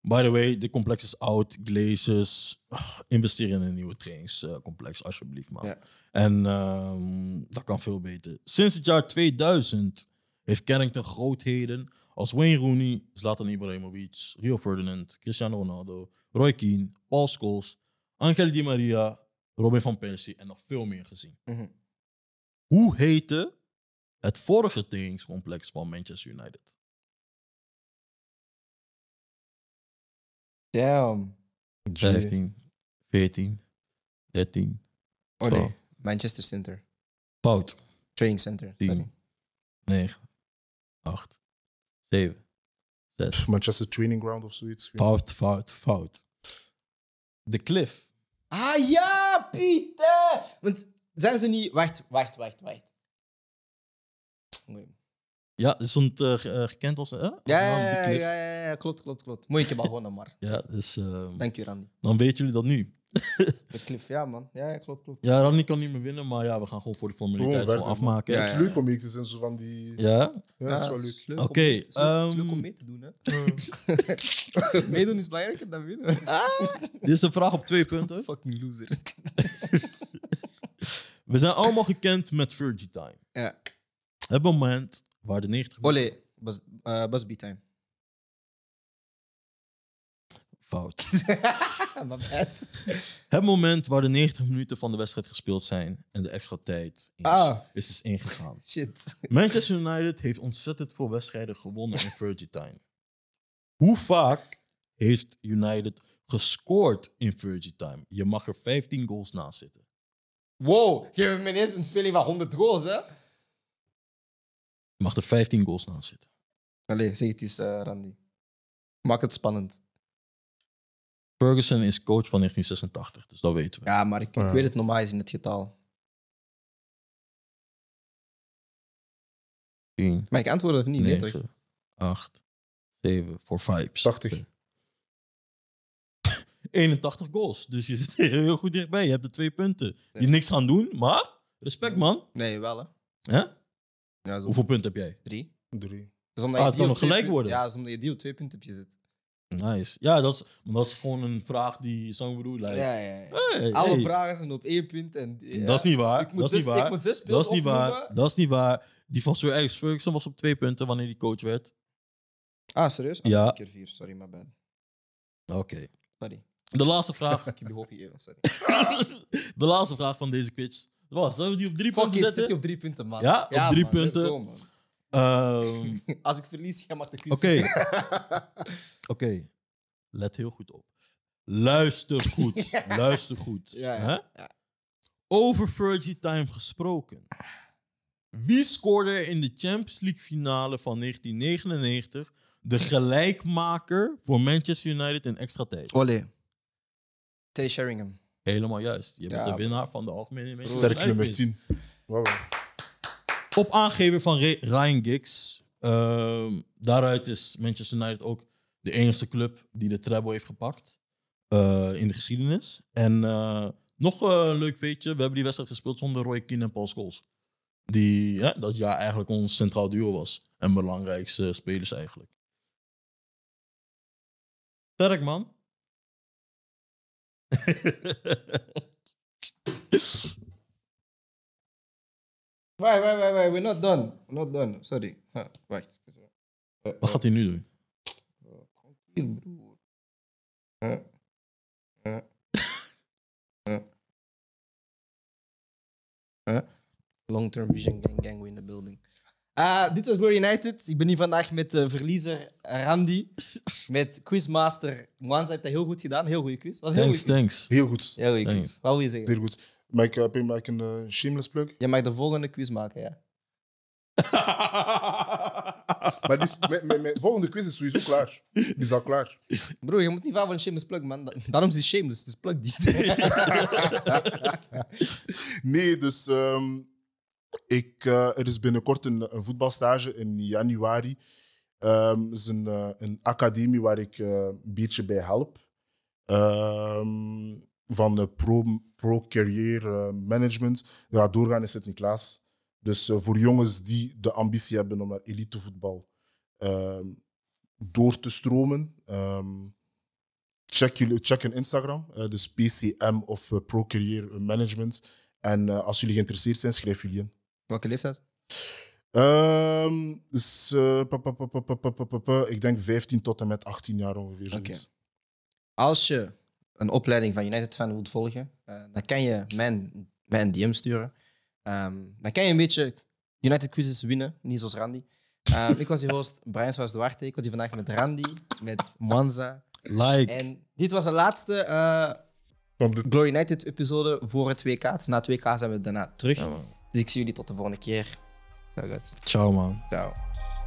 D: By the way, dit complex is oud, glazes. Ah, investeer in een nieuwe trainingscomplex, alsjeblieft man.
B: Ja.
D: En ehm, dat kan veel beter. Sinds het jaar 2000 heeft Carrington grootheden als Wayne Rooney, Zlatan Ibrahimovic, Rio Ferdinand, Cristiano Ronaldo, Roy Keane, Paul Scholes, Angel Di Maria, Robin van Persie en nog veel meer gezien.
B: Mhm.
D: Hoe heette het vorige trainingscomplex van Manchester United?
B: Damn.
C: Jay.
D: 15, 14, 13.
B: Olé.
D: Zo.
B: Manchester Center.
D: Fout.
B: Training Center.
D: Tien.
B: sorry.
D: 9, 8, 7, 6.
C: Pff, Manchester Training Ground of zoiets.
D: Fout, fout, fout. De Cliff.
B: Ah ja, Pieter! Want zijn ze niet. Wacht, wacht, wacht, wacht. Mooi.
D: Ja, het stond eh, ge- eh, gekend als. eh, als
B: Ja,
D: naam,
B: ja,
D: de
B: ja,
D: Cliff.
B: ja, ja, ja, klopt, klopt, klopt. Mooi, ik heb al gewonnen, maar.
D: Ja, dus ehm,
B: Dank je, Randy.
D: dan weten jullie dat nu.
B: De cliff, ja, man. Ja, ja, klopt, klopt.
D: Ja, Randy kan niet meer winnen, maar ja, we gaan gewoon voor de formaliteit
C: Gewoon
D: gewoon
C: verder,
D: afmaken.
C: Het
D: Ja,
C: is
B: Ja,
C: leuk om mee te zijn, zo van die... Ja, dat is wel
B: Ja,
C: leuk.
B: leuk om-
D: Oké,
B: het is leuk- het is leuk om
D: ehm,
B: mee te doen, hè? Meedoen is belangrijker dan winnen.
D: Dit is een vraag op twee punten.
B: Fucking loser.
D: We zijn allemaal gekend met Virgie Time.
B: Ja.
D: Het moment waar de 90
B: Olé, Bas, eh, Bas B-time.
D: Fout.
B: Ah, my bad.
D: Het moment waar de 90 minuten van de wedstrijd gespeeld zijn en de extra tijd is,
B: Ah.
D: is dus ingegaan.
B: Shit.
D: Manchester United heeft ontzettend veel wedstrijden gewonnen in Virgie Time. Hoe vaak heeft United gescoord in Virgie Time? Je mag er 15 goals naast zitten.
B: Wow, geef me ineens een speling van 100 goals, hè?
D: Je mag er 15 goals naast zitten.
B: Allee, zeg het eens, eh, Randy. Maak het spannend.
D: Ferguson is coach van 1986, dus dat weten we.
B: Ja, maar ik, ik
C: Ja.
B: weet het normaal is in het getal.
D: 10,
B: Maar ik antwoord of niet, nee, toch?
D: 9, 8, 7, voor vibes.
C: 80.
D: 81 goals. Dus je zit heel goed dichtbij. Je hebt de twee punten.
B: Ja.
D: Die niks gaan doen, maar respect man.
B: Nee, wel, hè?
D: Hè?
B: Ja, zo
D: Hoeveel punten heb jij?
B: drie.
C: Drie.
B: Dus omdat
D: Ah,
B: je
D: het
B: die
D: kan
B: op
D: nog
B: twee
D: gelijk
B: pun-
D: worden.
B: Ja, dat is omdat je die op twee punten op je zit.
D: Nice. Ja, dat is, maar dat is gewoon een vraag die zo'n bedoel lijkt.
B: Ja, ja, ja.
D: Hey,
B: Alle
D: hey.
B: vragen zijn op één punt. En, ja.
D: Dat is niet waar.
B: Ik moet
D: Dat is
B: zes-
D: niet waar.
B: Ik moet zes
D: Dat
B: speels
D: is niet waar.
B: opnoemen.
D: Dat is niet waar. Die van Sir Alex Ferguson was op twee punten wanneer hij coach werd.
B: Ah, serieus? Ah,
D: Ja.
B: Keer vier, sorry, my bad.
D: Oké.
B: Sorry.
D: De laatste vraag.
B: Ik heb je hoop hier, sorry.
D: de laatste vraag van deze quiz. Was, zullen we die op drie
B: Fuck
D: punten
B: it,
D: zetten?
B: zit je op drie punten, man.
D: Ja, op drie
B: man, let's
D: punten.
B: go, man.
D: Ehm,
B: Als ik verlies, jij maakt de quiz.
D: Oké. Oké. Let heel goed op. Luister goed. Luister goed.
B: Ja, ja,
D: Hè?
B: ja.
D: Over Fergie Time gesproken. Wie scoorde er in de Champions League finale van 1999 de gelijkmaker voor Manchester United in extra tijd?
B: Olé. Tay Sheringham.
D: Helemaal juist. Je bent
B: Ja.
D: de winnaar van de algemene meester.
C: Sterk nummer
D: Prijs.
C: 10. Wauw.
D: Op aangeven van Re- Ryan Giggs. ehm, daaruit is Manchester United ook de enige club die de treble heeft gepakt eh, in de geschiedenis. En eh, nog eh, een leuk weetje. We hebben die wedstrijd gespeeld zonder Roy Keane en Paul Scholes. Die hè, dat jaar eigenlijk ons centraal duo was. En belangrijkste spelers eigenlijk. Sterk man.
B: Wait, wait, wait, wait. We're not done. We're not done. Sorry. Huh, wacht. Eh,
D: Wat gaat hij nu doen?
B: Tranquil, broer. Huh? Huh? Huh? Huh? Long-term vision, gang, gang, we in the building. Ah, dit was Glory United. Ik ben hier vandaag met eh, verliezer Randy. Met quizmaster Mwans. Hij heeft dat heel goed gedaan. Heel goede quiz. Was een heel
D: Thanks,
B: goede quiz.
D: thanks.
C: Heel goed.
B: Heel goede quiz. Wat wil je zeggen?
C: Zeer goed. Mag ik, eh, Pim, mag ik een eh, shameless plug?
B: Je mag de volgende quiz maken, ja.
C: Maar die is- mijn, mijn, mijn volgende quiz is sowieso klaar. Die is al klaar.
B: Broer, je moet niet vaak van een shameless plug, man. Da- Daarom is die shameless, dus plug die.
C: Nee, dus ehm, ik, eh, er is binnenkort een, een voetbalstage in januari. Ehm, Het is een, eh, een academie waar ik eh, een beetje bij help. Ehm, van eh, pro, pro Career eh, Management. Ja, doorgaan is het niet klaas. Dus eh, voor jongens die de ambitie hebben om naar elitevoetbal ehm, door te stromen. ehm, check, jullie, check hun Instagram, eh, dus PCM of eh, Pro Career Management. En eh, als jullie geïnteresseerd zijn, schrijf jullie in.
B: Welke leeftijd?
C: Ehm, dus, eh, pa, pa, pa, pa, pa, pa, pa, pa, pa, ik denk 15 tot en met 18 jaar ongeveer. zoiets.
B: Als je een opleiding van United Fan wilt volgen, eh, dan kan je mijn, mijn DM sturen. Ehm, dan kan je een beetje United quizzes winnen, niet zoals Randy. Ehm, ik was je host, Brian Swaas Duarte. Ik was hier vandaag met Randy, met Manza.
D: Like.
B: En dit was de laatste eh,
C: Kom, dit-
B: Glory United-episode voor het WK. Dus na het WK zijn we daarna terug.
D: Ja, man.
B: Dus ik zie jullie tot de volgende keer. Zo goed.
D: Ciao man.
B: Ciao.